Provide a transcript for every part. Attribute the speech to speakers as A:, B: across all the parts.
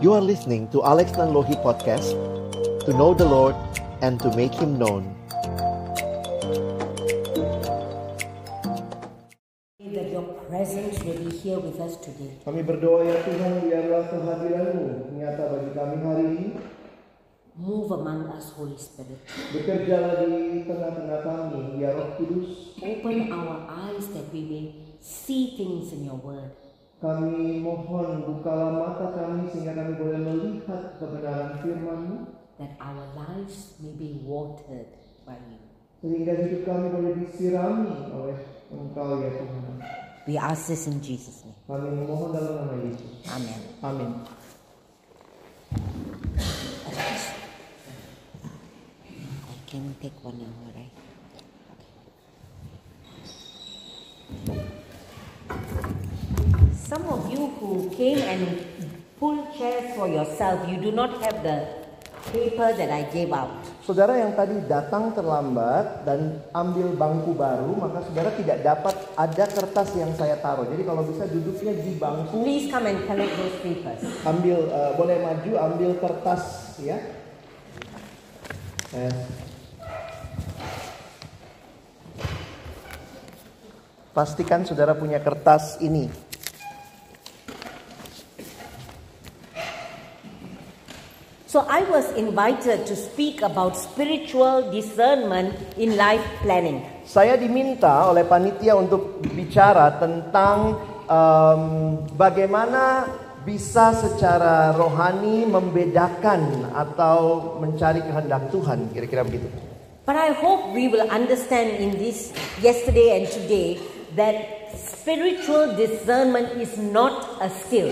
A: You are listening to Alex Nanlohi Podcast To know the Lord and to make Him known
B: Pray that your presence will be here with us today.
C: Kami berdoa ya Tuhan, biarlah kehadiranmu nyata bagi kami hari ini.
B: Move among us, Holy Spirit.
C: Bekerjalah di tengah-tengah kami, ya Roh Kudus.
B: Open our eyes that we may see things in your word.
C: Kami mohon bukalah mata kami sehingga kami boleh melihat kebenaran firman-Mu.
B: That our lives may be watered by you.
C: Sehingga hidup kami boleh disirami oleh Engkau ya Tuhan.
B: We ask this in Jesus' name.
C: Kami memohon dalam nama Yesus.
B: Amen.
C: Amin.
B: I can take one hour, right? Some of you who came and pulled chairs for yourself, you do not have the paper that I gave out.
C: Saudara yang tadi datang terlambat dan ambil bangku baru, maka saudara tidak dapat ada kertas yang saya taruh. Jadi kalau bisa duduknya di bangku
B: Please come and collect those papers.
C: ambil eh, boleh maju ambil kertas ya Eh. pastikan saudara punya kertas ini
B: So I was invited to speak about spiritual discernment in life planning.
C: saya diminta oleh panitia untuk bicara tentang em, bagaimana bisa secara rohani membedakan atau mencari kehendak Tuhan kira-kira begitu
B: But I hope we will understand in this yesterday and today that spiritual discernment is not a skill.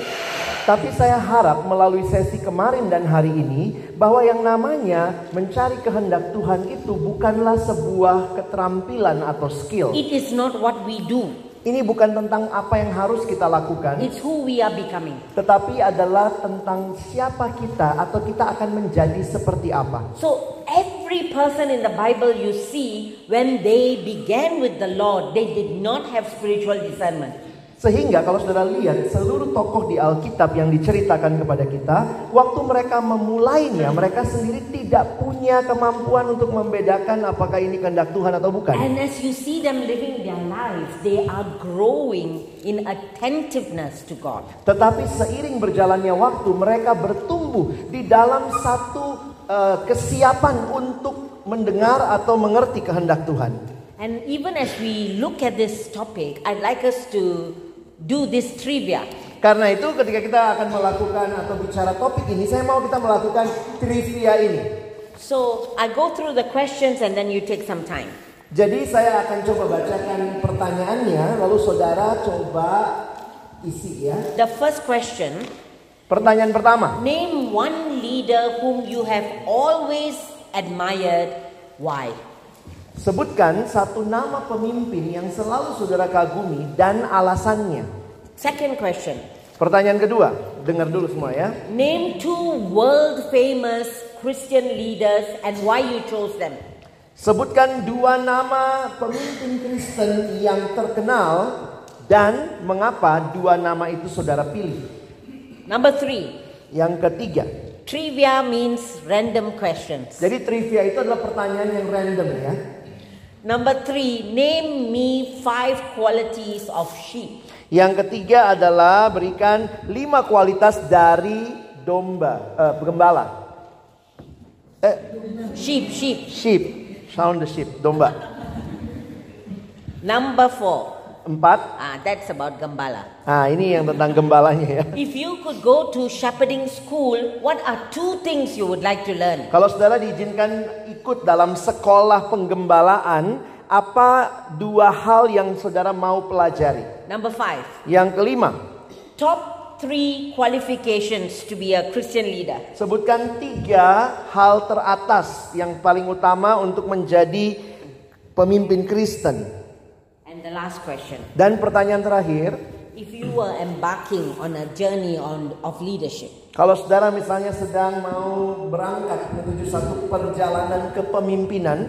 C: Tapi saya harap melalui sesi kemarin dan hari ini bahwa yang namanya mencari kehendak Tuhan itu bukanlah sebuah keterampilan atau skill.
B: It is not what we do,
C: Ini bukan tentang apa yang harus kita lakukan,
B: it's who we are becoming.
C: tetapi adalah tentang siapa kita atau kita akan menjadi seperti apa.
B: So every person in the Bible you see when they began with the Lord, they did not have spiritual discernment.
C: Sehingga kalau saudara lihat seluruh tokoh di Alkitab yang diceritakan kepada kita, waktu mereka memulainya, mereka sendiri tidak punya kemampuan untuk membedakan apakah ini kehendak Tuhan atau bukan.
B: And as you see them living their lives, they are growing in attentiveness to God.
C: Tetapi seiring berjalannya waktu mereka bertumbuh di dalam satu eh, kesiapan untuk mendengar atau mengerti kehendak Tuhan.
B: And even as we look at this topic, I'd like us to do this trivia.
C: Karena itu ketika kita akan melakukan atau bicara topik ini, saya mau kita melakukan trivia ini.
B: So I go through the questions and then you take some time.
C: Jadi saya akan coba bacakan pertanyaannya, lalu saudara coba isi ya.
B: The first question
C: Pertanyaan pertama,
B: Name one leader whom you have always admired. Why?
C: sebutkan satu nama pemimpin yang selalu saudara kagumi dan alasannya.
B: Second question
C: Pertanyaan kedua, dengar dulu semua ya.
B: Name two world famous Christian leaders and why you chose them.
C: Sebutkan dua nama pemimpin Kristen yang terkenal dan mengapa dua nama itu saudara pilih.
B: Number three,
C: Yang ketiga,
B: trivia means random questions.
C: jadi trivia itu adalah pertanyaan yang random ya.
B: Number three, name me five qualities of sheep.
C: Yang ketiga adalah berikan lima kualitas dari domba, eh, gembala.
B: Sheep, sheep.
C: Sheep, sound the sheep, domba.
B: Number four,
C: Empat,
B: ah, that's about Gambala.
C: nah ini yang tentang gembalanya ya.
B: If you could go to shepherding school, what are two things you would like to learn?
C: Kalau saudara diizinkan ikut dalam sekolah penggembalaan, apa dua hal yang saudara mau pelajari?
B: Number five,
C: Yang kelima,
B: top three qualifications to be a Christian leader.
C: sebutkan tiga hal teratas yang paling utama untuk menjadi pemimpin Kristen.
B: And the last question,
C: Dan pertanyaan terakhir,
B: if you were embarking on a journey on, of leadership,
C: kalau saudara misalnya sedang mau berangkat menuju satu perjalanan kepemimpinan,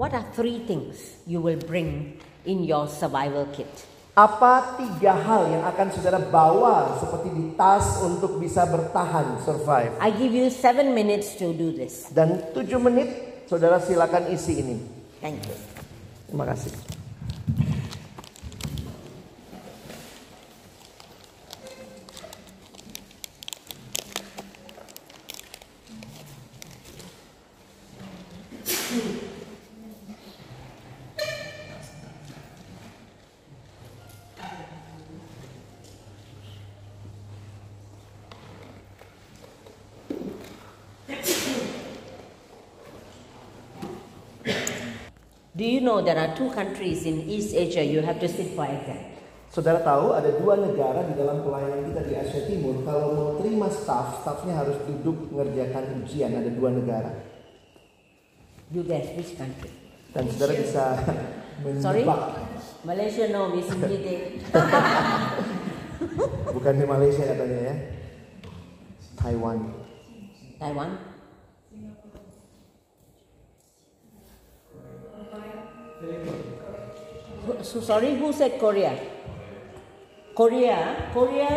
B: what are three things you will bring in your survival kit?
C: Apa tiga hal yang akan saudara bawa seperti di tas untuk bisa bertahan, survive?
B: I give you seven minutes to do this.
C: Dan tujuh menit, saudara silakan isi ini.
B: Thank you.
C: Terima kasih.
B: Do you know there are two countries in East Asia you have to sit for exam?
C: Saudara tahu ada dua negara di dalam pelayanan kita di Asia Timur. Kalau mau terima staff, staffnya harus duduk mengerjakan ujian. Ada dua negara.
B: You guess which country?
C: Dan saudara bisa
B: Sorry?
C: menebak.
B: Malaysia, no, Miss Injite.
C: Bukan di Malaysia katanya ya. Taiwan.
B: Taiwan? Who- So sorry, who said Korea? Korea, Korea,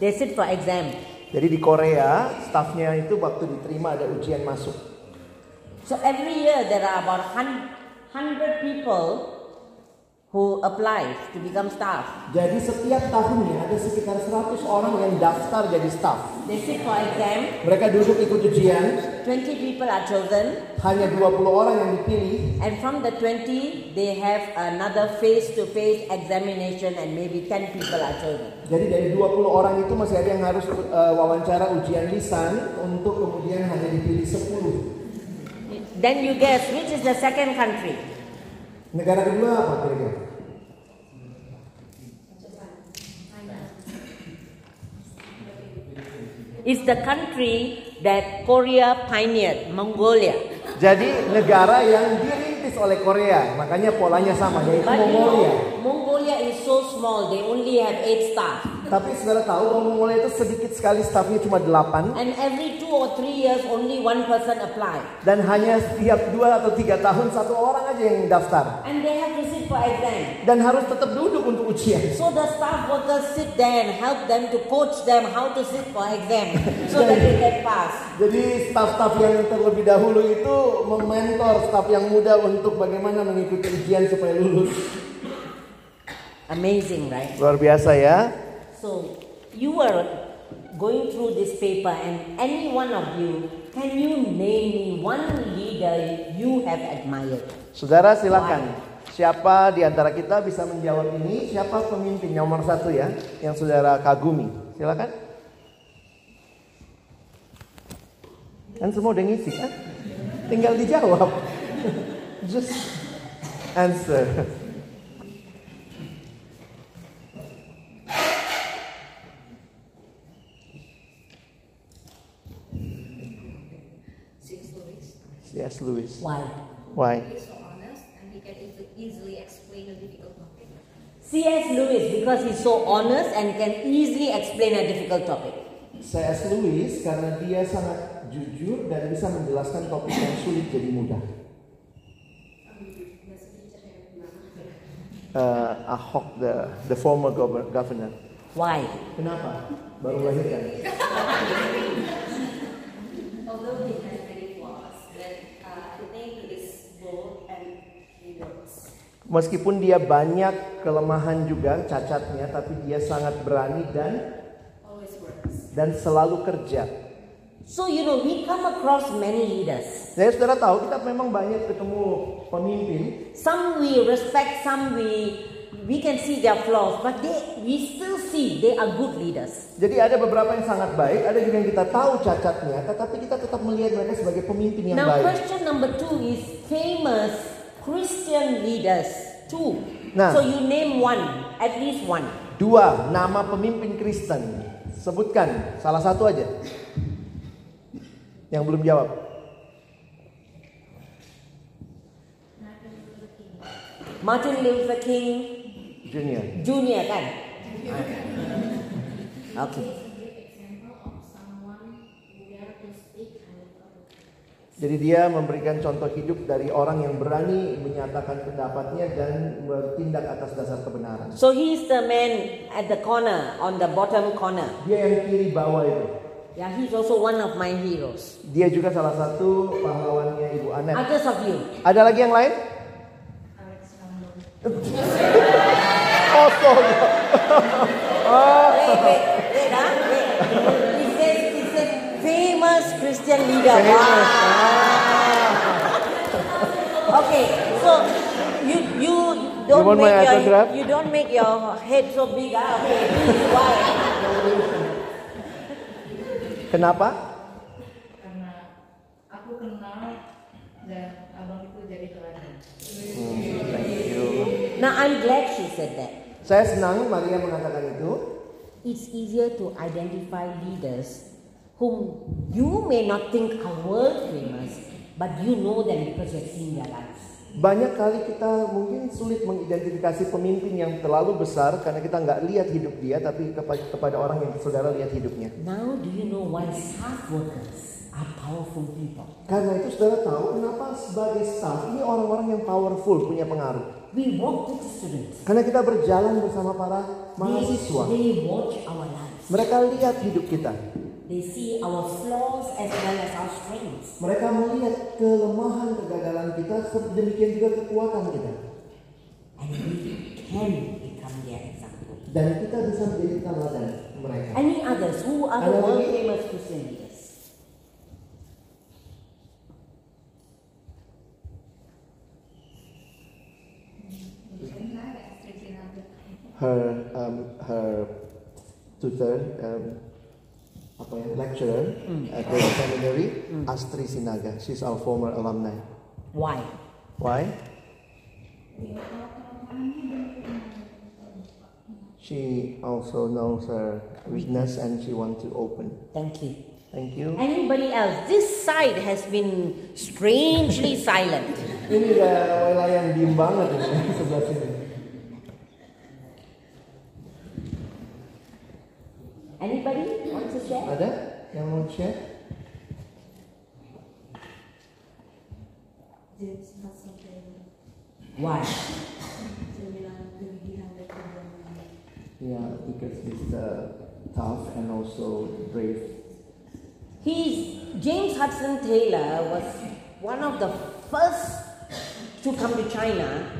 B: they sit for exam.
C: Jadi di Korea, staffnya itu waktu diterima ada ujian masuk.
B: So every year there are about 100 people who apply to become staff.
C: Jadi setiap tahunnya ada sekitar 100 orang yang daftar jadi staff.
B: They sit for exam,
C: Mereka duduk ikut ujian,
B: 20 people are chosen,
C: hanya 20 orang yang dipilih.
B: and from the 20, they have another face to face examination, and maybe 10 people are chosen.
C: Jadi dari 20 orang itu masih ada yang harus eh, wawancara ujian lisan untuk kemudian hanya dipilih 10.
B: Then you guess which is the second country?
C: Negara kedua apa kira-kira?
B: It's the country that Korea pioneered, Mongolia.
C: Jadi negara yang dirintis oleh Korea, makanya polanya sama yaitu
B: But you
C: Mongolia.
B: know, Mongolia is so small, they only have eight staff.
C: Tapi saudara tahu bahwa Mongolia itu sedikit sekali stafnya cuma 8
B: And every two or three years, only one person applies.
C: dan hanya setiap 2 atau 3 tahun satu orang aja yang daftar
B: And they have to sit for exam.
C: dan harus tetap duduk untuk ujian.
B: So the staff workers sit there and help them to coach them how to sit for exam so that they can pass.
C: Jadi staf-staf yang terlebih dahulu itu mementor staf yang muda untuk bagaimana mengikuti ujian supaya lulus.
B: Amazing, right?
C: Luar biasa ya.
B: So you were going through this paper, and any one of you, can you name me one leader you have admired?
C: Saudara silakan. Siapa di antara kita bisa menjawab ini? Siapa pemimpin nomor satu ya yang saudara kagumi? Silakan. Kan semua udah ngisi kan? Tinggal dijawab. Just answer. C.S. Lewis.
B: Why?
C: Why?
D: He's so honest and he can easily, easily explain a difficult topic.
B: C.S. Lewis, because he's so honest and can easily explain a difficult topic.
C: C.S. Lewis karena dia sangat jujur dan bisa menjelaskan topik yang sulit jadi mudah. Eh, Ahok the the former gover- governor.
B: Why?
C: Kenapa? Baru kan? melahirkan.
D: Although he has many flaws, but uh, I think he is bold and he knows.
C: Meskipun dia banyak kelemahan juga cacatnya, tapi dia sangat berani dan
D: Always works.
C: dan selalu kerja.
B: So, you know, we come across many leaders.
C: Saya saudara tahu kita memang banyak ketemu pemimpin
B: Some we respect, some we we can see their flaws, but they we still see they are good leaders.
C: Jadi ada beberapa yang sangat baik, ada juga yang kita tahu cacatnya, tetapi kita tetap melihat mereka sebagai pemimpin yang
B: now,
C: baik.
B: question number two is famous Christian leaders too.
C: Nah.
B: So you name one, at least one.
C: Dua, nama pemimpin Kristen. Sebutkan salah satu aja. Yang belum jawab.
B: Martin Luther King
C: Junior.
B: Jr. kan? Okay.
C: Jadi dia memberikan contoh hidup dari orang yang berani menyatakan pendapatnya dan bertindak atas dasar kebenaran.
B: So he is the man at the corner, on the bottom corner.
C: Dia yang kiri bawah itu.
B: Yeah, he's also one of my heroes.
C: Dia juga salah satu pahlawannya Ibu Anet.
B: Others of you.
C: Ada lagi yang lain? Oh, sorry.
B: Wait, wait, wait, huh? Wait. He says, he says, famous Christian leader.
C: Famous,
B: Wow. Okay, so you you don't
C: You want
B: make
C: my
B: your
C: autograph?
B: you don't make your head so big. ah. Okay, this is why.
C: Kenapa?
E: karena aku kenal dan abang itu jadi teman.
B: Now I'm glad she said that.
C: Saya senang Maria mengatakan itu.
B: It's easier to identify leaders whom you may not think are world famous, but you know them because you've seen their lives.
C: Banyak kali kita mungkin sulit mengidentifikasi pemimpin yang terlalu besar karena kita nggak lihat hidup dia, tapi kepa- kepada orang yang saudara lihat hidupnya.
B: Now, do you know why staff workers are powerful people?
C: Karena itu saudara tahu kenapa sebagai staff ini orang-orang yang powerful punya pengaruh.
B: We walk with the students.
C: Karena kita berjalan bersama para
B: They,
C: mahasiswa.
B: they watch our lives.
C: Mereka lihat hidup kita.
B: They see our flaws as well as our strengths.
C: Mereka melihat kelemahan kegagalan kita, se- demikian juga kekuatan kita.
B: And we can become their example.
C: Dan kita bisa menjadi teladan mereka.
B: Any others? Who are the
C: Another
B: world
C: leader?
B: famous Christian leaders?
C: her um, her tutor um, apa ya lecturer at the seminary Astri Sinaga she's our former alumni
B: Why?
C: why she also knows her weakness and she want to open
B: Thank you.
C: thank you
B: Anybody else? This side has been strangely silent.
C: ini udah wilayah yang diem banget ini sebelah sini
B: Anybody wants to share?
C: ada yang mau share
D: James Russell Taylor
B: Why?
D: dia bilang kegigihan dan keberanian
C: yeah because he's uh, tough and also brave
B: He's James Hudson Taylor was one of the first to come to China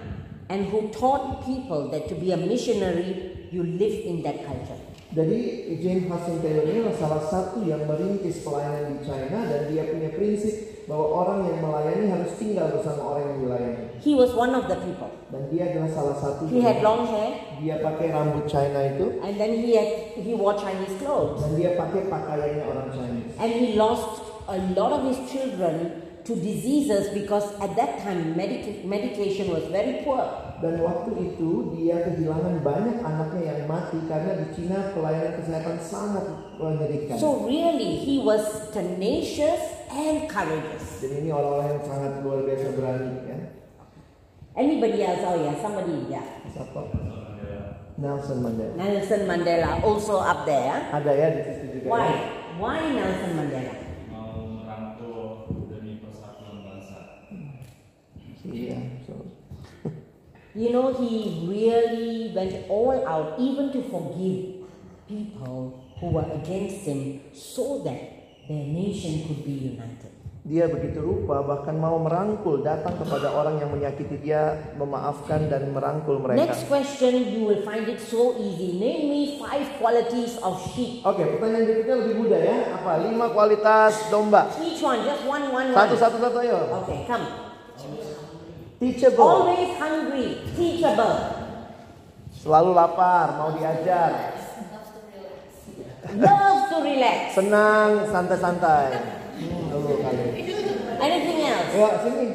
B: and who taught people that to be a missionary you live in that culture.
C: Jadi James Hudson Taylor ini adalah salah satu yang merintis pelayanan di China dan dia punya prinsip bahwa orang yang melayani harus tinggal bersama orang yang dilayani.
B: He was one of the people.
C: Dan dia adalah salah satu.
B: He had long hair
C: Dia pakai rambut China itu
B: and then he had he wore Chinese clothes
C: dan dia pakai pakaiannya orang Chinese.
B: and he lost a lot of his children to diseases because at that time medic- medication was very poor.
C: Dan waktu itu dia kehilangan banyak anaknya yang mati karena di Cina pelayanan kesehatan sangat menyedihkan.
B: So really, he was tenacious and courageous.
C: Jadi ini orang-orang yang sangat luar biasa berani ya.
B: Anybody else? Oh yeah, somebody. Yeah,
C: Siapa? Nelson Mandela.
B: Nelson Mandela also up there.
C: Ada ya di situ juga.
B: Why?
C: ya.
B: Why Nelson Mandela?
F: mau merangkul demi persatuan bangsa.
C: Iya. so-
B: You know, he really went all out, even to forgive people who were against him, so that their nation could be united.
C: Dia begitu rupa bahkan mau merangkul datang kepada orang yang menyakiti dia memaafkan dan merangkul mereka.
B: Next question, you will find it so easy. Name me five qualities of sheep.
C: Oke, pertanyaan berikutnya lebih mudah ya. Apa? Lima kualitas domba.
B: Each one, just one, one, one.
C: Satu satu satu ayo.
B: Okay, come.
C: Teachable.
B: Always hungry, teachable,
C: Selalu lapar, mau diajar.
B: loves to relax.
C: Senang, santai-santai. Lalu kali.
B: Anything else?
C: Ya, sini.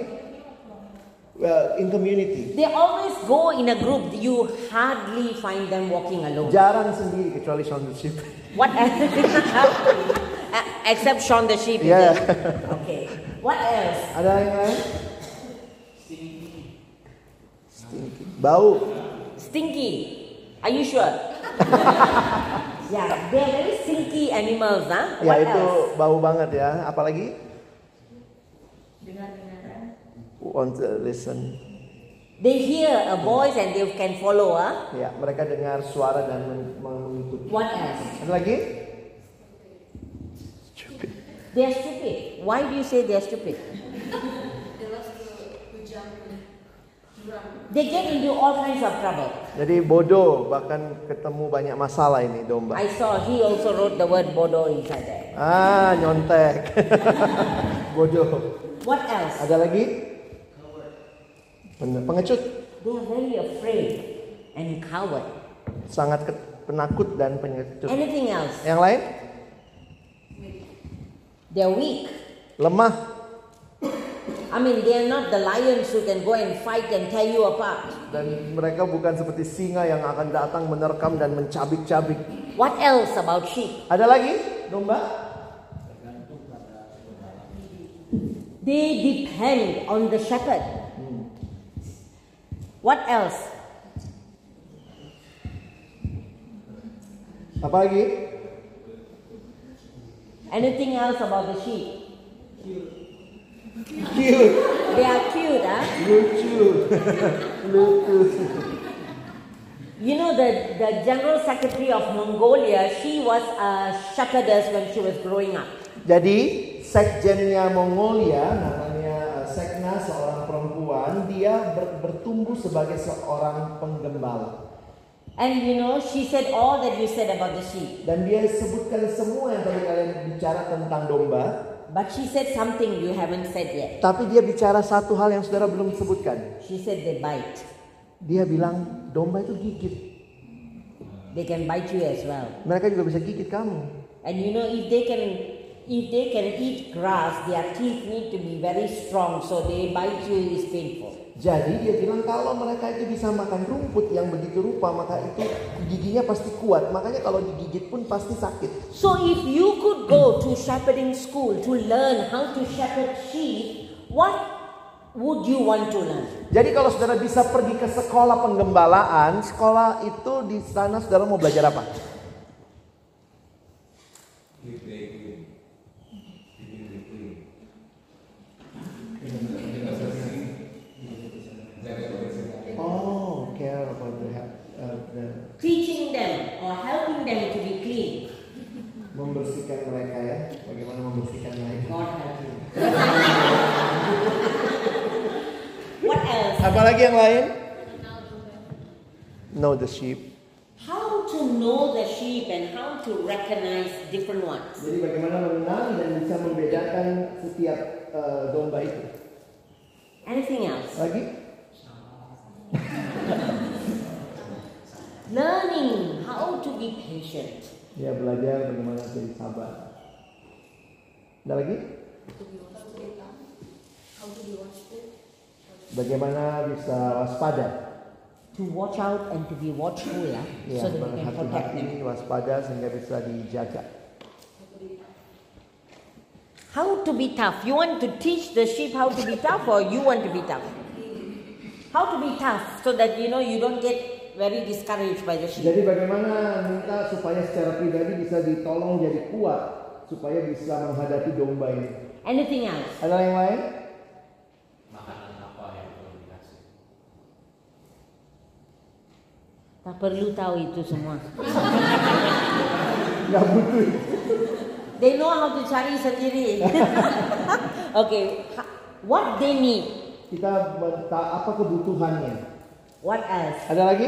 C: Well, in community.
B: They always go in a group. You hardly find them walking alone.
C: Jarang sendiri kecuali ship.
B: What else? Except Sean the sheep. is
C: Yeah.
B: it? Okay. What else?
C: Ada yang lain? Stinky. Bau.
B: Stinky. Are you sure? yeah, they're very stinky animals, huh?
C: Ya
B: What
C: itu
B: else?
C: bau banget ya. Apalagi
D: dengar-dengaran
C: who want to listen.
B: They hear a voice and they can follow. Huh?
C: Ya, mereka dengar suara dan men- mengikuti.
B: What else?
C: Ada lagi?
B: They are stupid. Why do you say they are stupid?
D: they love to to jump in drum
B: They get into all kinds of trouble.
C: Jadi bodoh, bahkan ketemu banyak masalah ini domba.
B: I saw he also wrote the word bodo inside there.
C: Ah, nyontek. bodoh.
B: What else?
C: Ada lagi? Benar, pengecut.
B: They are very afraid and coward.
C: Sangat ke- penakut dan pengecut.
B: Anything else?
C: Yang lain?
B: They are weak.
C: Lemah.
B: I mean, they are not the lions who can go and fight and tear you apart.
C: Dan mereka bukan seperti singa yang akan datang menerkam dan mencabik-cabik.
B: What else about sheep?
C: Ada lagi? Domba?
B: They depend on the shepherd. What else?
C: Apa lagi?
B: Anything else about the sheep?
C: Cute.
B: They are cute, huh?
C: Iya, Lucu. Lucu.
B: You know, the, the general secretary of Mongolia, she was a shepherdess when she was growing up.
C: Jadi, sekjennya Mongolia, namanya eh, Sekna, seorang perempuan, dia ber- bertumbuh sebagai seorang penggembala.
B: And you know, she said all that you said about the sheep.
C: Dan dia sebutkan semua yang tadi kalian bicara tentang domba,
B: But she said something you haven't said yet.
C: tapi dia bicara satu hal yang saudara belum sebutkan.
B: She said they bite.
C: Dia bilang, domba itu gigit.
B: They can bite you as well.
C: Mereka juga bisa gigit kamu.
B: And you know, if they can if they can eat grass, their teeth need to be very strong, so they bite you is painful.
C: Jadi dia bilang kalau mereka itu bisa makan rumput yang begitu rupa maka itu giginya pasti kuat. Makanya kalau digigit pun pasti sakit.
B: So if you could go to shepherding school to learn how to shepherd sheep, what would you want to learn?
C: Jadi kalau saudara bisa pergi ke sekolah penggembalaan, sekolah itu di sana saudara mau belajar apa? Oh, care about the, uh, the-
B: Teaching them or helping them to be clean.
C: membersihkan mereka ya. Bagaimana membersihkan mereka?
B: God help you. what else?
C: Apalagi yang lain? Know the sheep.
B: How to know the sheep and how to recognize different ones.
C: Jadi bagaimana mengenal dan bisa membedakan setiap eh, domba itu.
B: Anything else?
C: Lagi?
B: Learning how to be patient.
C: Ya belajar bagaimana jadi sabar. Ada lagi?
D: to be watchful how to be watchful
C: Bagaimana bisa waspada?
B: To watch out and to be watchful, yeah?
C: Ya,
B: so that we can protect them.
C: berhati-hati, waspada sehingga bisa dijaga.
B: How to be tough? You want to teach the sheep how to be tough, or you want to be tough? How to be tough so that you know you don't get very discouraged by the sheep.
C: Jadi bagaimana minta supaya secara pribadi bisa ditolong jadi kuat supaya bisa menghadapi domba ini.
B: Anything else?
C: Ada yang lain?
F: makanan apa yang perlu dikasih
B: Tak perlu tahu itu semua.
C: Nggak butuh.
B: They know how to cari sendiri. eh. okay, ha- what they need?
C: Kita minta apa kebutuhannya.
B: What else?
C: Ada lagi?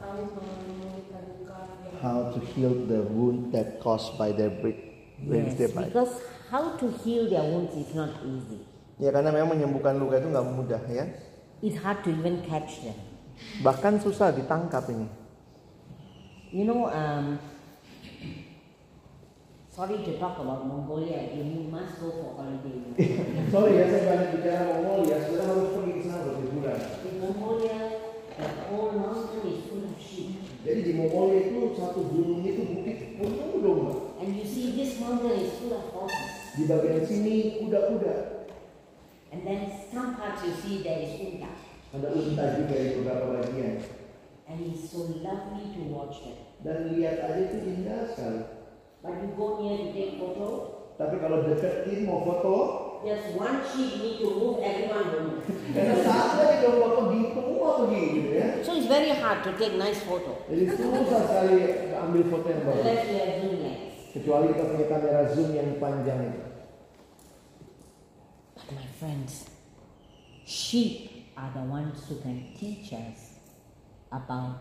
D: tahu menemukan luka yang
A: How to heal the wound that caused by their break,
B: Yes, because how to heal their wounds is not easy.
C: Ya karena memang menyembuhkan luka itu nggak mudah ya.
B: It's hard to even catch them.
C: Bahkan susah ditangkap ini.
B: You know, um, sorry to talk about Mongolia again. You must go for holiday.
C: Sorry ya saya banyak bicara Mongol ya. Sudah harus pergi ke sana berliburan.
B: In Mongolia, the whole mountain is full of sheep.
C: Jadi di Mongolia itu satu gunung itu bukit penuh domba.
B: And you see, this mountain is full of horses.
C: Di bagian sini kuda-kuda.
B: And then some parts you see there is Unta.
C: Ada unta juga di beberapa bagian.
B: And it's so lovely to watch them.
C: Dan lihat aja itu indah sekali.
B: But you go near to take photo,
C: Tapi kalau deketin mau foto,
B: there's one sheet need to move everyone will move.
C: karena saat lagi dong foto di semua pergi gitu ya.
B: So it's very hard to take nice photo
C: Jadi susah sekali ambil foto yang bagus.
B: unless you have zoom lens.
C: Kecuali kita punya kamera zoom yang panjang itu.
B: But my friends, sheep are the ones who can teach us about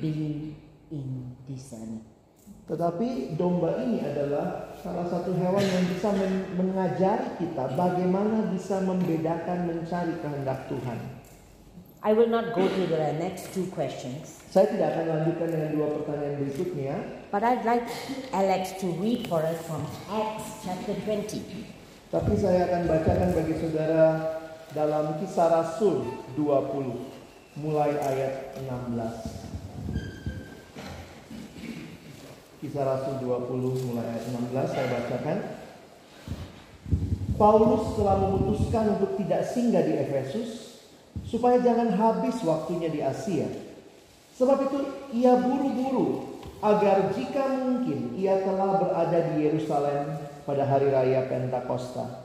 B: being in discernment.
C: Tetapi domba ini adalah salah satu hewan yang bisa men- mengajari kita bagaimana bisa membedakan mencari kehendak Tuhan.
B: I will not go to the next two questions,
C: Saya tidak akan lanjutkan dengan dua pertanyaan berikutnya,
B: but I'd like Alex to read for us from Acts chapter 20.
C: tapi saya akan bacakan bagi saudara dalam kisah Rasul 20 mulai ayat 16. Kisah Rasul 20 mulai ayat 16 saya bacakan. Paulus telah memutuskan untuk tidak singgah di Efesus supaya jangan habis waktunya di Asia. Sebab itu ia buru-buru agar jika mungkin ia telah berada di Yerusalem pada hari raya Pentakosta.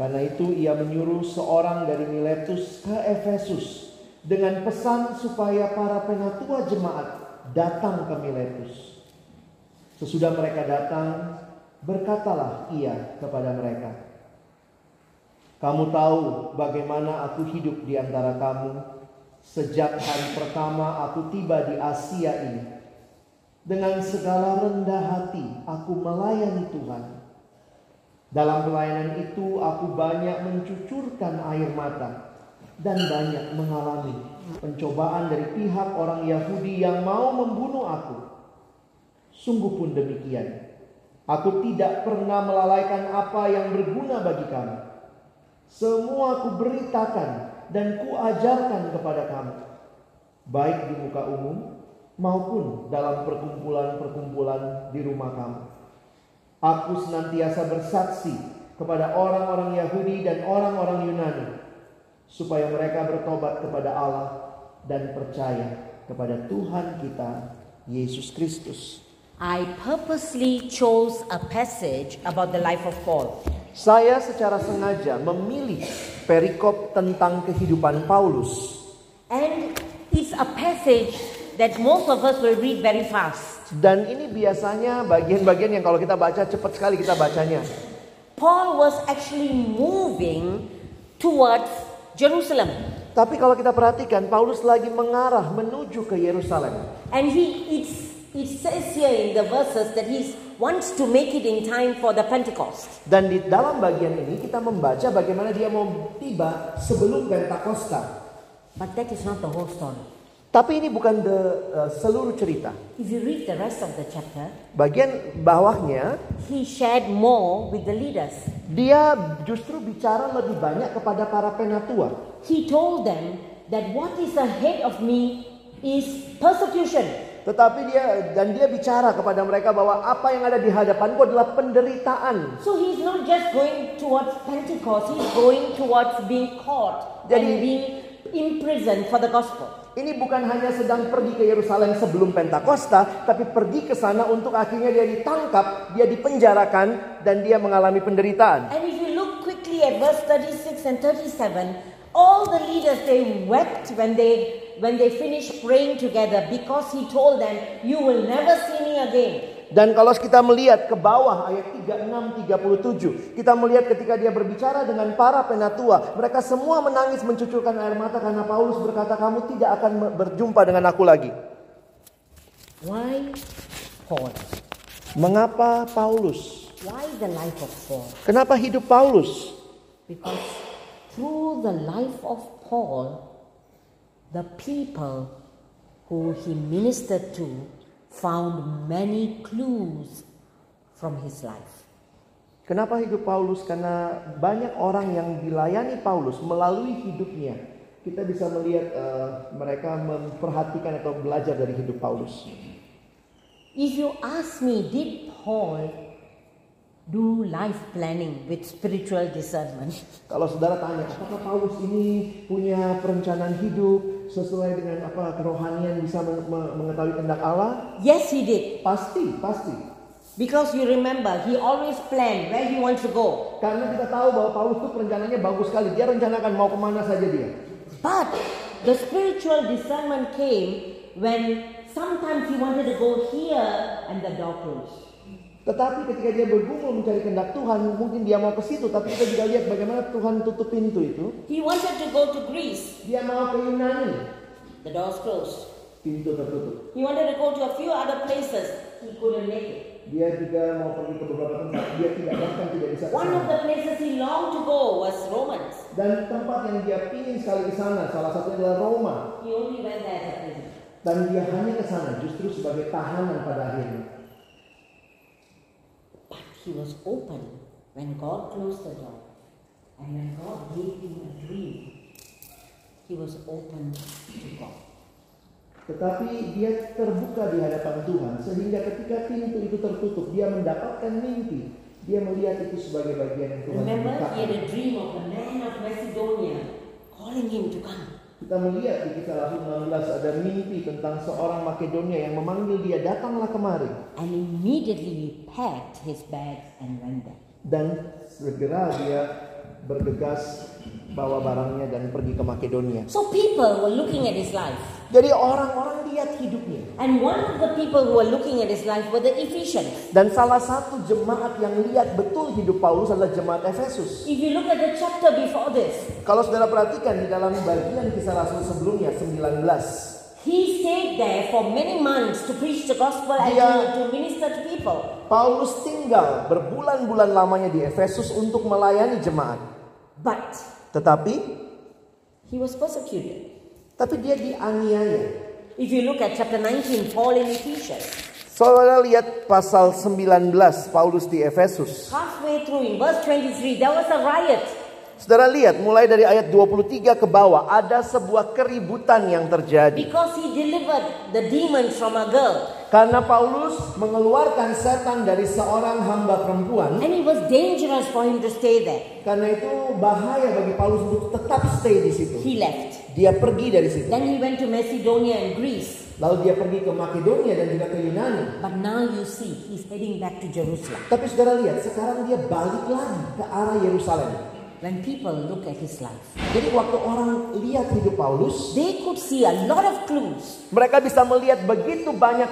C: Karena itu ia menyuruh seorang dari Miletus ke Efesus dengan pesan supaya para penatua jemaat datang ke Miletus. Sesudah mereka datang, berkatalah ia kepada mereka, "Kamu tahu bagaimana aku hidup di antara kamu sejak hari pertama aku tiba di Asia ini. Dengan segala rendah hati aku melayani Tuhan. Dalam pelayanan itu aku banyak mencucurkan air mata dan banyak mengalami pencobaan dari pihak orang Yahudi yang mau membunuh aku." Sungguh pun demikian. Aku tidak pernah melalaikan apa yang berguna bagi kamu. Semua ku beritakan dan kuajarkan kepada kamu. Baik di muka umum maupun dalam perkumpulan-perkumpulan di rumah kamu. Aku senantiasa bersaksi kepada orang-orang Yahudi dan orang-orang Yunani. Supaya mereka bertobat kepada Allah dan percaya kepada Tuhan kita, Yesus Kristus.
B: I purposely chose a passage about the life of Paul
C: Saya secara sengaja memilih perikop tentang kehidupan Paulus
B: And it's a passage that most of us will read very fast.
C: dan ini biasanya bagian-bagian yang kalau kita baca cepat sekali kita bacanya.
B: Paul was actually moving towards Jerusalem.
C: Tapi kalau kita perhatikan Paulus lagi mengarah menuju ke Yerusalem
B: And he it's it says here in the verses that he wants to make it in time for the Pentecost.
C: dan di dalam bagian ini kita membaca bagaimana dia mau tiba sebelum Pentakosta.
B: But that is not the whole story.
C: Tapi ini bukan the, uh, seluruh cerita.
B: If you read the rest of the chapter,
C: Bagian bawahnya
B: he shared more with the leaders.
C: dia justru bicara lebih banyak kepada para penatua.
B: He told them that what is ahead of me is persecution.
C: Tetapi dia dan dia bicara kepada mereka bahwa apa yang ada di hadapanku adalah penderitaan.
B: So he's not just going towards Pentecost, he's going towards being caught
C: Jadi-
B: and being imprisoned for the gospel.
C: Ini bukan hanya sedang pergi ke Yerusalem sebelum Pentakosta, tapi pergi ke sana untuk akhirnya dia ditangkap, dia dipenjarakan, dan dia mengalami penderitaan.
B: And if you look quickly at verse 36 and 37, all the leaders they wept when they when they finished praying together because he told them, You will never see me again.
C: Dan kalau kita melihat ke bawah ayat 36 37, kita melihat ketika dia berbicara dengan para penatua, mereka semua menangis mencucurkan air mata karena Paulus berkata kamu tidak akan berjumpa dengan aku lagi.
B: Why Paul?
C: Mengapa Paulus?
B: Why the life of Paul?
C: Kenapa hidup Paulus?
B: Because through the life of Paul, the people who he ministered to found many clues from his life.
C: Kenapa hidup Paulus? Karena banyak orang yang dilayani Paulus melalui hidupnya. Kita bisa melihat eh, mereka memperhatikan atau belajar dari hidup Paulus.
B: If you ask me, did Paul do life planning with spiritual discernment?
C: Kalau saudara tanya, apakah Paulus ini punya perencanaan hidup sesuai dengan apa kerohanian bisa me- me- mengetahui kehendak Allah?
B: Yes, he did.
C: Pasti, pasti.
B: Because you remember, he always planned where he wants to go.
A: Karena kita tahu bahwa Paulus itu rencananya bagus sekali. Dia rencanakan mau kemana saja dia.
B: But the spiritual discernment came when sometimes he wanted to go here and the door closed.
A: Tetapi ketika dia bergumul mencari kehendak Tuhan, mungkin dia mau ke situ. Tapi kita juga lihat bagaimana Tuhan tutup pintu itu.
B: He wanted to go to Greece,
A: Dia mau ke Yunani,
B: the door's closed.
A: pintu tertutup.
B: He wanted to go to a few other places, he couldn't make it.
A: Dia juga mau pergi ke beberapa tempat. Dia tidak bahkan tidak bisa. ke
B: One of
A: sana.
B: the places he longed to go was Romans.
A: Dan tempat yang dia ingin sekali ke sana, salah satunya adalah Roma.
B: He only went there as a prisoner.
A: Dan dia hanya ke sana justru sebagai tahanan pada akhirnya.
B: But he was open when God closed the door. And when God gave him a dream, he was open to God.
A: Tetapi dia terbuka di hadapan Tuhan sehingga ketika pintu itu tertutup, dia mendapatkan mimpi. Dia melihat itu sebagai bagian yang Tuhan
B: Remember, he had
A: bukakan.
B: a dream of the man of Macedonia calling him to come.
A: Kita melihat di kisah Rasul 16 ada mimpi tentang seorang Makedonia yang memanggil dia datanglah kemari.
B: And immediately he packed his bags and went there.
A: dan segera dia bergegas bawa barangnya dan pergi ke Makedonia.
B: So people were looking at his life.
A: Jadi orang-orang lihat hidupnya
B: And one of the people who were looking at his life were the Ephesians.
C: Dan salah satu jemaat yang lihat betul hidup Paulus adalah jemaat Efesus.
B: If you look at the chapter before this,
C: Kalau saudara perhatikan di dalam bagian kisah Rasul sebelumnya 19.
B: he stayed there for many months to preach the gospel and
C: Dia-
B: to, to minister to people.
C: Paulus tinggal berbulan-bulan lamanya di Efesus untuk melayani jemaat.
B: But
C: Tetapi
B: he was persecuted.
C: tapi dia dianiaya.
B: If you look at chapter 19, Paul in Ephesians,
C: Saudara lihat pasal 19 Paulus di Efesus.
B: halfway through in verse 23, there was a riot.
C: Saudara lihat mulai dari ayat 23 ke bawah ada sebuah keributan yang terjadi.
B: Because he delivered the demon from a girl.
C: Karena Paulus mengeluarkan setan dari seorang hamba perempuan,
B: And it was dangerous for him to stay there.
C: karena itu bahaya bagi Paulus untuk tetap stay di situ.
B: He left.
C: Dia pergi dari situ.
B: Then he went to Macedonia and Greece.
C: Lalu dia pergi ke Makedonia dan juga ke Yunani.
B: But now you see, he's heading back to Jerusalem.
C: Tapi saudara lihat, sekarang dia balik lagi ke arah Yerusalem.
B: When people look at his life,
C: Jadi waktu orang lihat hidup Paulus,
B: they could see a lot of clues.
C: mereka bisa melihat begitu banyak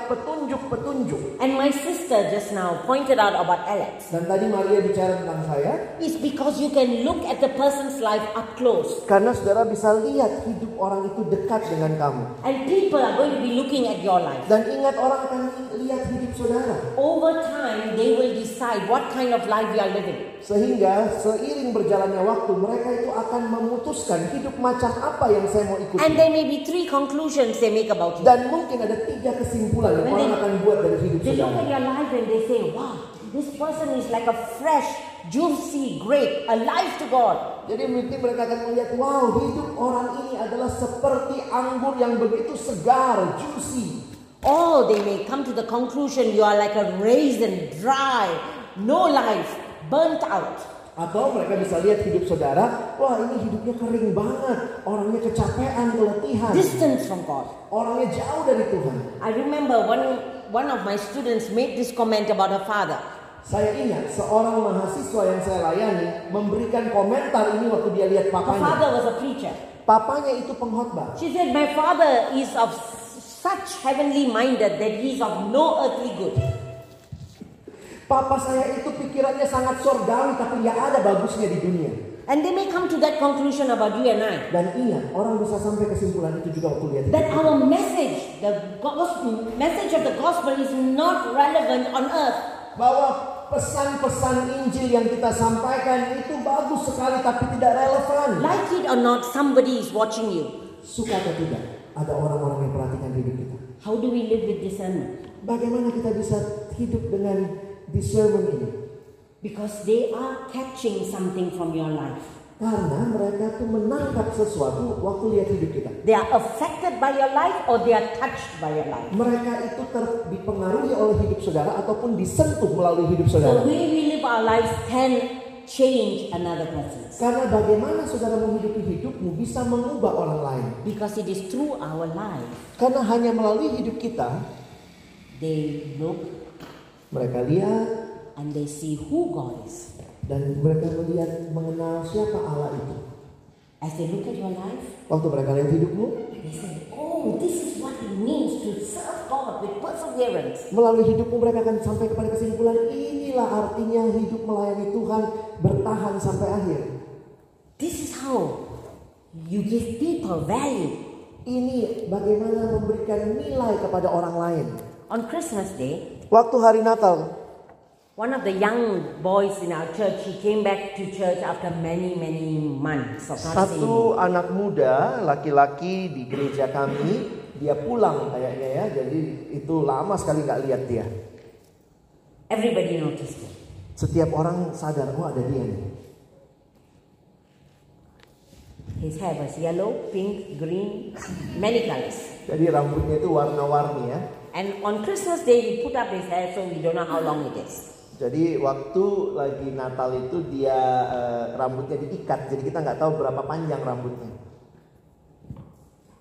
C: petunjuk-petunjuk.
B: And my sister just now pointed out about Alex.
C: Dan tadi Maria bicara tentang saya,
B: It's because you can look at the person's life up close.
C: karena saudara bisa lihat hidup orang itu dekat dengan kamu.
B: And people are going to be looking at your life.
C: Dan ingat orang akan lihat hidup saudara.
B: Over time, they will decide what kind of life you are living.
C: Sehingga seiring berjalannya waktu mereka itu akan memutuskan hidup macam apa yang saya mau ikuti.
B: And there may be three conclusions they make about you.
C: Dan mungkin ada tiga kesimpulan yang orang akan buat dari hidup
B: They look
C: saudara.
B: at your life and they say, wow, this person is like a fresh, juicy grape, alive to God.
C: Jadi mungkin mereka akan melihat, wow hidup orang ini adalah seperti anggur yang begitu segar, juicy.
B: Or they may come to the conclusion you are like a raisin, dry, no life, burnt out.
C: Atau mereka bisa lihat hidup saudara, wah ini hidupnya kering banget, orangnya kecapean, keletihan,
B: Distance from God.
C: orangnya jauh dari Tuhan.
B: I remember one, one of my students made this comment about her father.
C: Saya ingat seorang mahasiswa yang saya layani memberikan komentar ini waktu dia
B: Her
C: lihat papanya.
B: father was a preacher.
C: Papanya itu pengkhotbah.
B: She said, My father is of such heavenly minded that he is of no earthly good.
C: Papa saya itu pikirannya sangat sorgawi tapi nggak ada bagusnya di dunia.
B: And they may come to that conclusion about you and I.
C: Dan ingat, orang bisa sampai kesimpulan itu juga waktu lihat hidup.
B: That our message, the gospel, message of the gospel is not relevant on earth.
C: Bahwa pesan-pesan Injil yang kita sampaikan itu bagus sekali tapi tidak relevan.
B: Like it or not, somebody is watching you.
C: Suka atau tidak, ada orang-orang yang perhatikan hidup kita.
B: How do we live with discernment?
C: Bagaimana kita bisa hidup dengan discernment ini?
B: Because they are catching something from your life.
C: Karena mereka tuh menangkap sesuatu waktu lihat hidup kita.
B: They are affected by your life or they are touched by your life.
C: Mereka itu ter dipengaruhi oleh hidup saudara ataupun disentuh melalui hidup
B: The
C: saudara.
B: way we live our lives can change another person's.
C: Karena bagaimana saudara menghidupi hidupmu bisa mengubah orang lain.
B: Because it is through our life
C: Karena hanya melalui hidup kita,
B: they look
C: Mereka lihat
B: and they see who God is.
C: dan mereka melihat mengenal siapa Allah itu.
B: As they look at your life,
C: Waktu mereka lihat hidupmu,
B: they say, Oh, this is what it means to serve God with perseverance.
C: melalui hidupmu mereka akan sampai kepada kesimpulan inilah artinya hidup melayani Tuhan bertahan sampai akhir.
B: This is how you give people value.
C: Ini bagaimana memberikan nilai kepada orang lain.
B: On Christmas Day,
C: Waktu hari Natal,
B: one of the young boys in our church, he came back to church after many, many months of not seeing me.
C: Satu anak muda laki-laki di gereja kami dia pulang kayaknya ya jadi itu lama sekali nggak lihat dia.
B: Everybody noticed him.
C: Setiap orang sadar oh ada dia nih.
B: His hair was yellow, pink, green, many colors.
C: Jadi rambutnya itu warna-warni ya.
B: And on Christmas Day, he put up his hair so we don't know how long it is.
C: Jadi waktu lagi Natal itu dia eh, rambutnya diikat jadi kita nggak tahu berapa panjang rambutnya.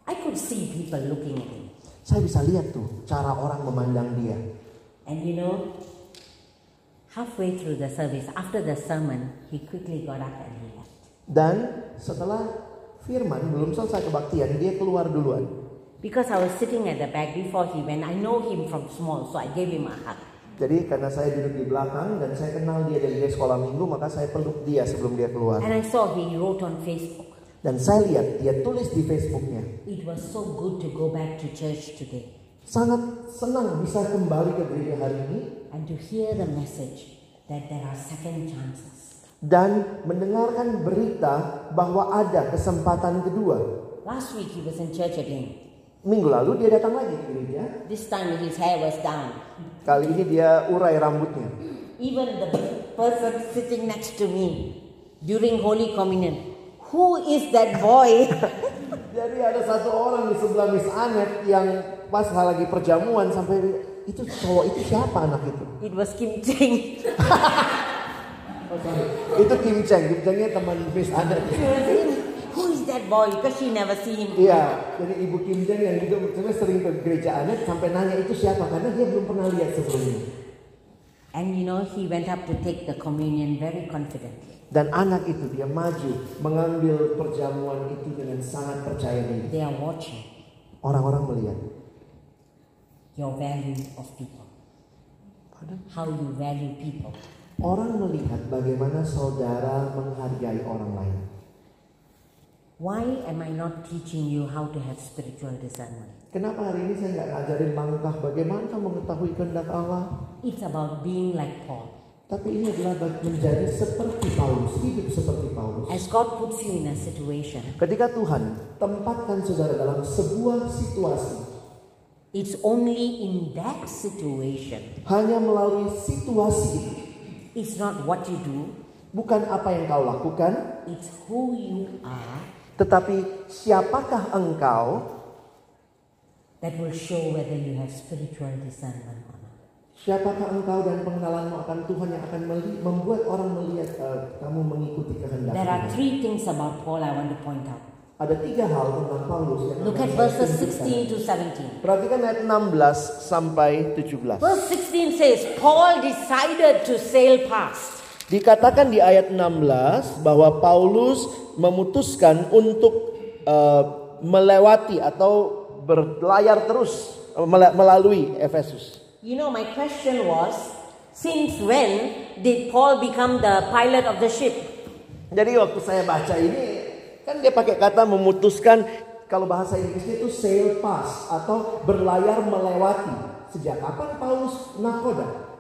B: I could see people looking at him.
C: Saya bisa lihat tuh cara orang memandang dia.
B: And you know, halfway through the service, after the sermon, he quickly got up and he left.
C: Dan setelah Firman belum selesai kebaktian Iya, dia keluar duluan.
B: Because I was sitting at the back before he went, I know him from small, so I gave him a hug.
C: Jadi karena saya duduk di belakang dan saya kenal dia dari dia sekolah minggu, maka saya peluk dia sebelum dia keluar.
B: And I saw he wrote on Facebook,
C: Dan saya lihat dia tulis di Facebooknya,
B: It was so good to go back to church today
C: sangat senang bisa kembali ke gereja hari ini
B: and to hear the message that there are second chances.
C: dan mendengarkan berita bahwa ada kesempatan kedua.
B: Last week he was in church again.
C: Minggu lalu dia datang lagi ke gereja,
B: This time his hair was down.
C: kali ini dia urai rambutnya.
B: Even the person sitting next to me during Holy Communion, who is that boy?
C: Jadi ada satu orang di sebelah Miss Anet yang pas lagi perjamuan sampai itu cowok itu siapa anak itu?
B: it was Kim Cheng.
C: Itu Kim Cheng, Kim Chengnya teman Miss Anet.
B: She was in, who is that boy? Because she never see him.
C: Iya, jadi Ibu Kim Jong yang juga sebenarnya sering ke gereja anak sampai nanya itu siapa karena dia belum pernah lihat sebelumnya.
B: And you know, he went up to take the communion very confidently.
C: Dan anak itu dia maju mengambil perjamuan itu dengan sangat percaya diri.
B: They are watching
C: Orang-orang melihat.
B: your value of people, how you value people.
C: Orang melihat bagaimana saudara menghargai orang lain.
B: Why am I not teaching you how to have spiritual discernment?
C: Kenapa hari ini saya nggak ngajarin langkah bagaimana mengetahui kehendak Allah?
B: It's about being like Paul.
C: Tapi ini adalah bag- menjadi seperti Paulus, hidup seperti Paulus.
B: As God puts you in a situation,
C: Ketika Tuhan tempatkan saudara dalam sebuah situasi
B: it's only in that situation.
C: hanya melalui situasi itu.
B: It's not what you do,
C: Bukan apa yang kau lakukan,
B: it's who you are
C: tetapi siapakah engkau
B: that will show whether you have spiritual discernment or not.
C: Siapakah engkau dan pengenalanmu akan Tuhan yang akan meli- membuat orang melihat eh, kamu mengikuti kehendak
B: There are
C: Tuhan.
B: three things about Paul I want to point out.
C: Ada tiga hal tentang Paulus yang
B: Look at
C: akan saya
B: verses
C: tunjukkan.
B: 16 to 17.
C: Perhatikan ayat 16 sampai 17.
B: Verse 16 says, Paul decided to sail past.
C: Dikatakan di ayat 16 bahwa Paulus memutuskan untuk eh, melewati atau berlayar terus eh, mela- melalui Efesus.
B: You know, my question was, since when did Paul become the pilot of the ship?
C: Jadi waktu saya baca ini kan dia pakai kata memutuskan kalau bahasa Inggrisnya itu sail past atau berlayar melewati. Sejak kapan Paulus nakoda?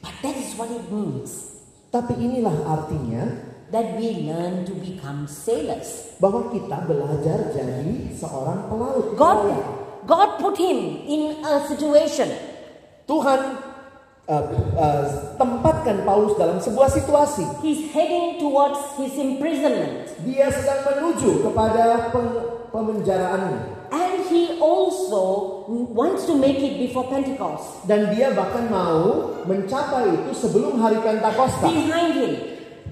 B: But that is what it means
C: Tapi inilah artinya
B: that we learn to become sailors.
C: bahwa kita belajar jadi seorang pelaut. Pelaut.
B: God, God put him in a situation.
C: Tuhan eh, eh, tempatkan Paulus dalam sebuah situasi.
B: He's heading towards his imprisonment.
C: Dia sedang menuju kepada peng- pemenjaraannya
B: And he also wants to make it before Pentecost.
C: dan dia bahkan mau mencapai itu sebelum hari Pentakosta.
B: Behind him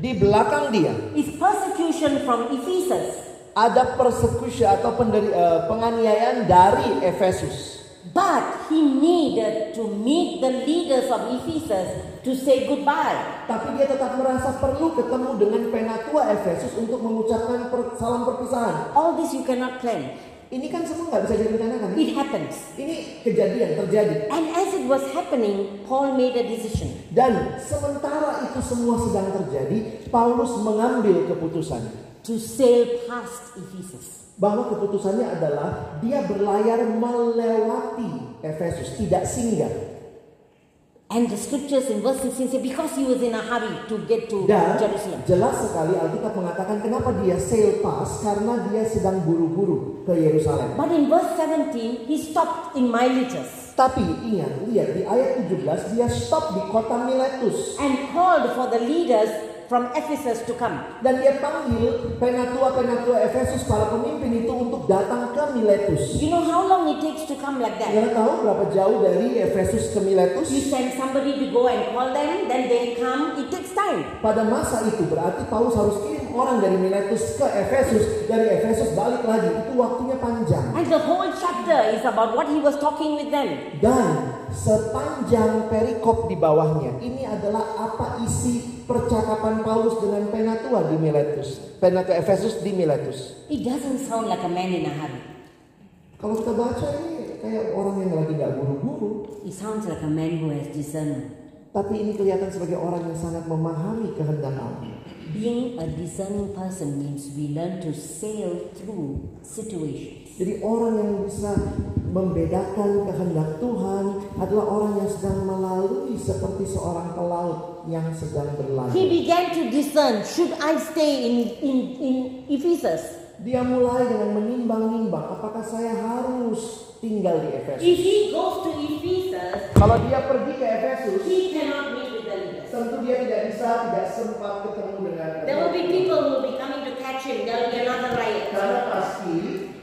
C: Di belakang dia
B: is persecution from Ephesus.
C: ada persekusi atau penderi- eh, penganiayaan dari Efesus.
B: But he needed to meet the leaders of Ephesus to say goodbye.
C: Tapi dia tetap merasa perlu ketemu dengan penatua Efesus untuk mengucapkan per- salam perpisahan.
B: All this you cannot plan.
C: Ini kan semua nggak bisa direncanakan.
B: It happens.
C: Ini kejadian terjadi.
B: And as it was happening, Paul made a decision.
C: Dan sementara itu semua sedang terjadi, Paulus mengambil keputusan
B: to sail past Ephesus.
C: bahwa keputusannya adalah dia berlayar melewati Efesus, tidak singgah.
B: And the scriptures in verse 16 say, because he was in a hurry to get to
C: Dan
B: Jerusalem.
C: jelas sekali Alkitab mengatakan kenapa dia sail past karena dia sedang buru-buru ke Yerusalem.
B: But in verse 17, he stopped in Miletus
C: Tapi ingat, lihat di ayat 17 dia stop di kota Miletus
B: and called for the leaders from Ephesus to come.
C: dan dia panggil penatua-penatua Efesus para pemimpin itu untuk datang ke Miletus.
B: You know how long it takes to come like that?
C: Kalian tahu berapa jauh dari Efesus ke Miletus?
B: You send somebody to go and call them, then they come. It takes time.
C: Pada masa itu berarti Paulus harus kirim orang dari Miletus ke Efesus, dari Efesus balik lagi. Itu waktunya panjang.
B: And the whole chapter is about what he was talking with them.
C: Dan sepanjang perikop di bawahnya, ini adalah apa isi percakapan Paulus dengan penatua di Miletus, penatua Efesus di Miletus.
B: It doesn't sound like a man in a hurry.
C: Kalau kita baca ini kayak orang yang lagi nggak buru-buru,
B: It sounds like a man who has discernment.
C: tapi ini kelihatan sebagai orang yang sangat memahami kehendak Allah.
B: Being a discerning person means we learn to sail through situations.
C: Jadi orang yang bisa membedakan kehendak Tuhan adalah orang yang sedang melalui seperti seorang pelaut yang sedang
B: He
C: berlayar.
B: began to discern should I stay in, in, in Ephesus?
C: Dia mulai dengan menimbang-nimbang apakah saya harus tinggal di Efesus.
B: If he goes to Ephesus,
C: Kalau dia pergi ke Efesus,
B: he cannot meet with the leaders.
C: tentu dia tidak bisa tidak sempat ketemu dengan
B: There will be people who will be coming to catch him, there will be another riot.
C: karena pasti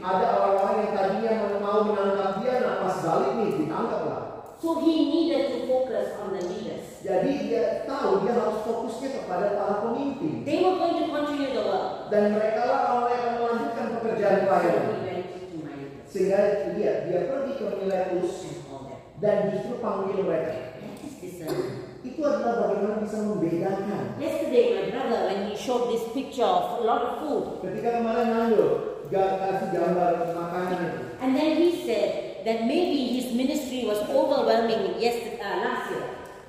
C: ada orang-orang yang tadinya mau menangkap dia, nah pas balik nih ditangkap lah.
B: So he needed to focus on the leaders.
C: Jadi dia tahu dia harus fokusnya kepada para pemimpin.
B: They were going to continue the work.
C: dan mereka lah orang yang melanjutkan pekerjaan
B: So
C: pelayan
B: he went to Miletus
C: sehingga dia dia pergi ke Miletus
B: and all that.
C: dan justru panggil mereka
B: That is discernment.
C: itu adalah bagaimana bisa membedakan
B: Yesterday, my brother, when he showed this picture of a lot of food,
C: ketika kemarin Nando gak kasih gambar makanan itu
B: and then he said that maybe his ministry was overwhelming yesterday, uh, last year.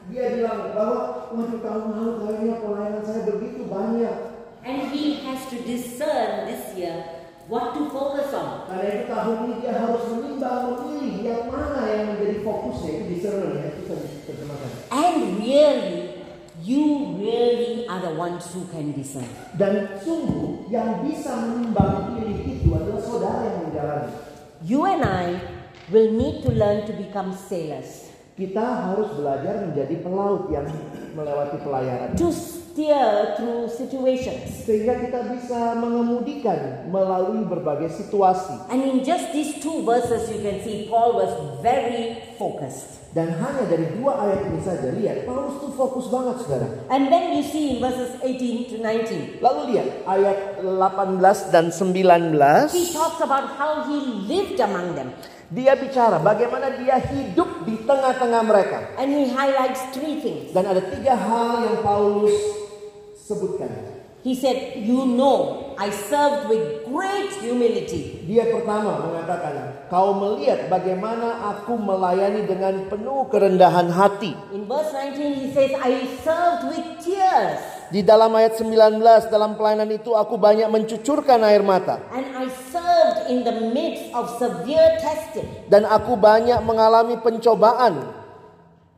C: dia bilang bahwa waduh tahun lalu kayaknya pelayanan saya begitu banyak
B: And he has to discern this year what to focus on.
C: karena itu tahun ini dia harus menimbang memilih yang mana yang menjadi fokusnya itu discernment ya itu terjemahkan
B: And really, you really are the ones who can discern.
C: dan sungguh yang bisa menimbang pilih itu adalah saudara yang menjalani
B: You and I will need to learn to become sailors,
C: Kita harus belajar menjadi pelaut yang melewati pelayaran.
B: to steer through situations.
C: Sehingga kita bisa mengemudikan melalui berbagai situasi.
B: And in just these two verses, you can see Paul was very focused.
C: Dan hanya dari dua ayat ini saja, lihat Paulus tuh fokus banget saudara.
B: And then you see in verses 18 to 19,
C: Lalu lihat ayat 18 dan 19.
B: he talks about how he lived among them.
C: Dia bicara bagaimana dia hidup di tengah-tengah mereka.
B: And he highlights three things.
C: Dan ada tiga hal yang Paulus sebutkan.
B: He said, You know, I served with great humility.
C: Dia pertama mengatakan, kau melihat bagaimana aku melayani dengan penuh kerendahan hati.
B: In verse 19, he says, I served with tears
C: Di dalam ayat 19 dalam pelayanan itu aku banyak mencucurkan air mata
B: and I served in the midst of severe testing.
C: dan aku banyak mengalami pencobaan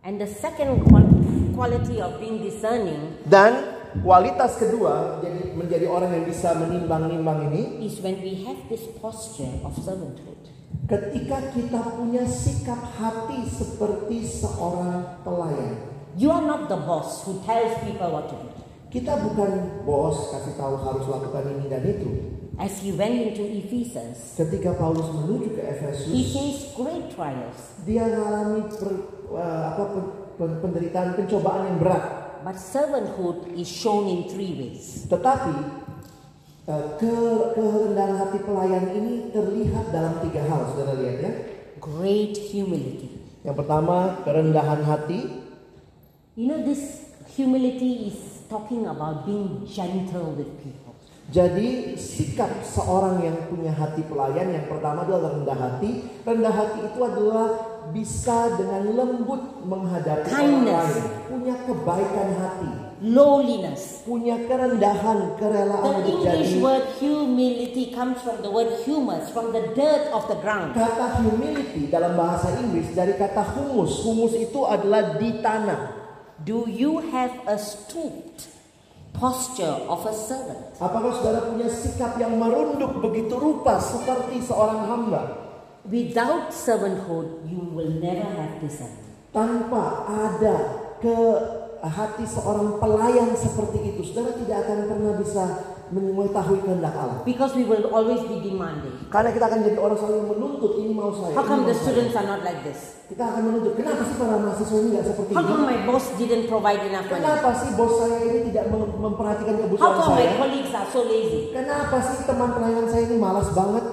B: And the second qual- quality of being discerning
C: dan kualitas kedua jadi menjadi orang yang bisa menimbang-nimbang ini
B: is when we have this posture of servanthood.
C: ketika kita punya sikap hati seperti seorang pelayan.
B: You are not the boss who tells people what to do.
C: Kita bukan bos kasih tahu harus lakukan ini dan itu.
B: As he went into Ephesus,
C: Ketika Paulus menuju
B: he
C: ke Efesus,
B: faced great trials,
C: dia mengalami per- eh, apa, pen- pen- penderitaan pencobaan yang berat.
B: but servanthood is shown in three ways.
C: Tetapi eh, ke kerendahan hati pelayan ini terlihat dalam tiga hal, saudara lihat ya.
B: great humility.
C: Yang pertama, kerendahan hati.
B: You know, this humility is talking about being gentle with people.
C: Jadi sikap seorang yang punya hati pelayan yang pertama adalah rendah hati. Rendah hati itu adalah bisa dengan lembut menghadapi orang
B: Kindness.
C: lain, punya kebaikan hati,
B: Lowliness.
C: punya kerendahan, kerelaan
B: The
C: untuk
B: English
C: jadi.
B: word humility comes from the word humus, from the dirt of the ground.
C: Kata humility dalam bahasa Inggris dari kata humus. Humus itu adalah di tanah.
B: Do you have a stooped posture of a servant?
C: Apakah saudara punya sikap yang merunduk begitu rupa seperti seorang hamba?
B: Without servanthood, you will never have discernment.
C: tanpa ada ke hati seorang pelayan seperti itu, saudara tidak akan pernah bisa mengetahui kehendak Allah.
B: Because we will always be demanding.
C: Karena kita akan jadi orang selalu menuntut ini mau saya.
B: How
C: ini
B: come
C: mau
B: the
C: saya.
B: students are not like this?
C: Kita akan menuntut. Kenapa sih para mahasiswa ini nggak seperti
B: How
C: ini?
B: come my boss didn't provide enough money?
C: Kenapa sih bos saya ini tidak mem- memperhatikan
B: How
C: kebutuhan
B: come
C: saya?
B: my colleagues are so lazy?
C: Kenapa sih teman pelayan saya ini malas banget?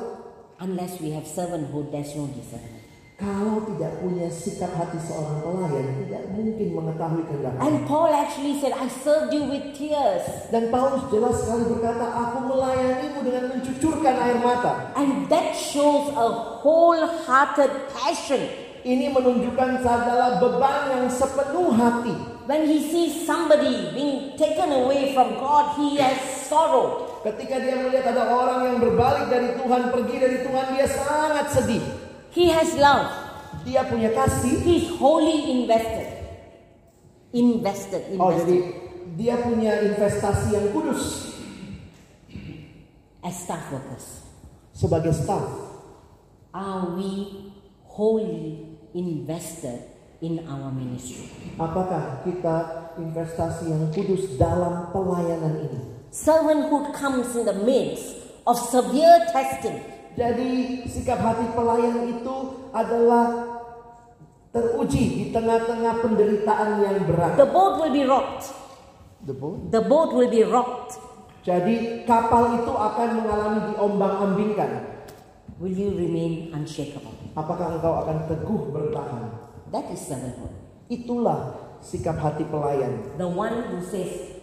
B: Unless we have servanthood, there's no discernment.
C: Kalau tidak punya sikap hati seorang pelayan, tidak mungkin mengetahui kehendak Allah.
B: And Paul actually said, I served you with tears.
C: Dan Paulus jelas sekali berkata, aku melayanimu dengan mencucurkan air mata.
B: And that shows a wholehearted passion.
C: Ini menunjukkan adalah beban yang sepenuh hati.
B: When he sees somebody being taken away from God, he has sorrow.
C: Ketika dia melihat ada orang yang berbalik dari Tuhan, pergi dari Tuhan, dia sangat sedih.
B: He has love.
C: Dia punya kasih.
B: He's wholly invested. Invested, invested.
C: Oh, jadi dia punya investasi yang kudus
B: As staff workers,
C: sebagai staff.
B: are we wholly invested in our ministry?
C: Apakah kita investasi yang kudus dalam pelayanan ini?
B: Servanthood comes in the midst of severe testing.
C: Jadi sikap hati pelayan itu adalah teruji di tengah-tengah penderitaan yang berat.
B: The boat will be rocked. The boat will be rocked.
C: Jadi kapal itu akan mengalami diombang-ambingkan.
B: Will you remain unshakable?
C: Apakah engkau akan teguh bertahan?
B: That is servanthood.
C: Itulah sikap hati pelayan.
B: The one who says,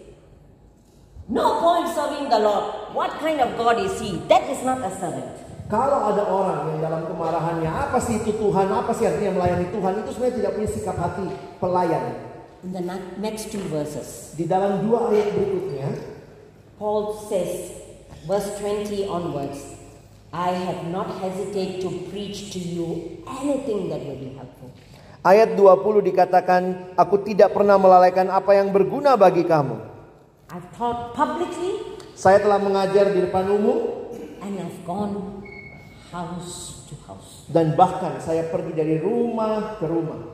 B: No point serving the Lord. What kind of God is he? That is not a servant.
C: Kalau ada orang yang dalam kemarahannya, apa sih itu Tuhan, apa sih artinya melayani Tuhan, itu sebenarnya tidak punya sikap hati pelayan.
B: In the na- next two verses,
C: Di dalam dua ayat berikutnya,
B: Paul says, verse 20 onwards, I have not hesitated to preach to you anything that will be helpful.
C: Ayat 20 dikatakan, Aku tidak pernah melalaikan apa yang berguna bagi kamu.
B: I've taught publicly
C: Saya telah mengajar di depan umum,
B: and I've gone house to house.
C: dan bahkan saya pergi dari rumah ke rumah.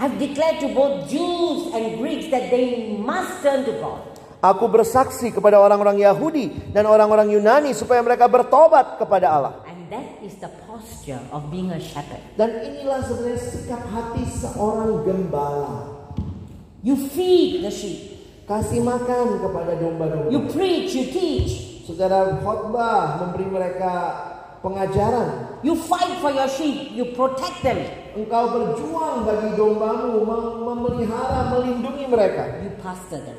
B: I've declared to both Jews and Greeks that they must turn to God.
C: Aku bersaksi kepada orang-orang Yahudi dan orang-orang Yunani supaya mereka bertobat kepada Allah.
B: And that is the posture of being a shepherd.
C: Dan inilah sebenarnya sikap hati seorang gembala.
B: You feed the sheep,
C: Kasih makan kepada
B: you
C: domba-domba.
B: preach, you teach,
C: Saudara khotbah memberi mereka pengajaran.
B: you fight for your sheep, you protect them,
C: Engkau berjuang bagi dombamu, mem- memelihara, melindungi mereka.
B: you pastor them.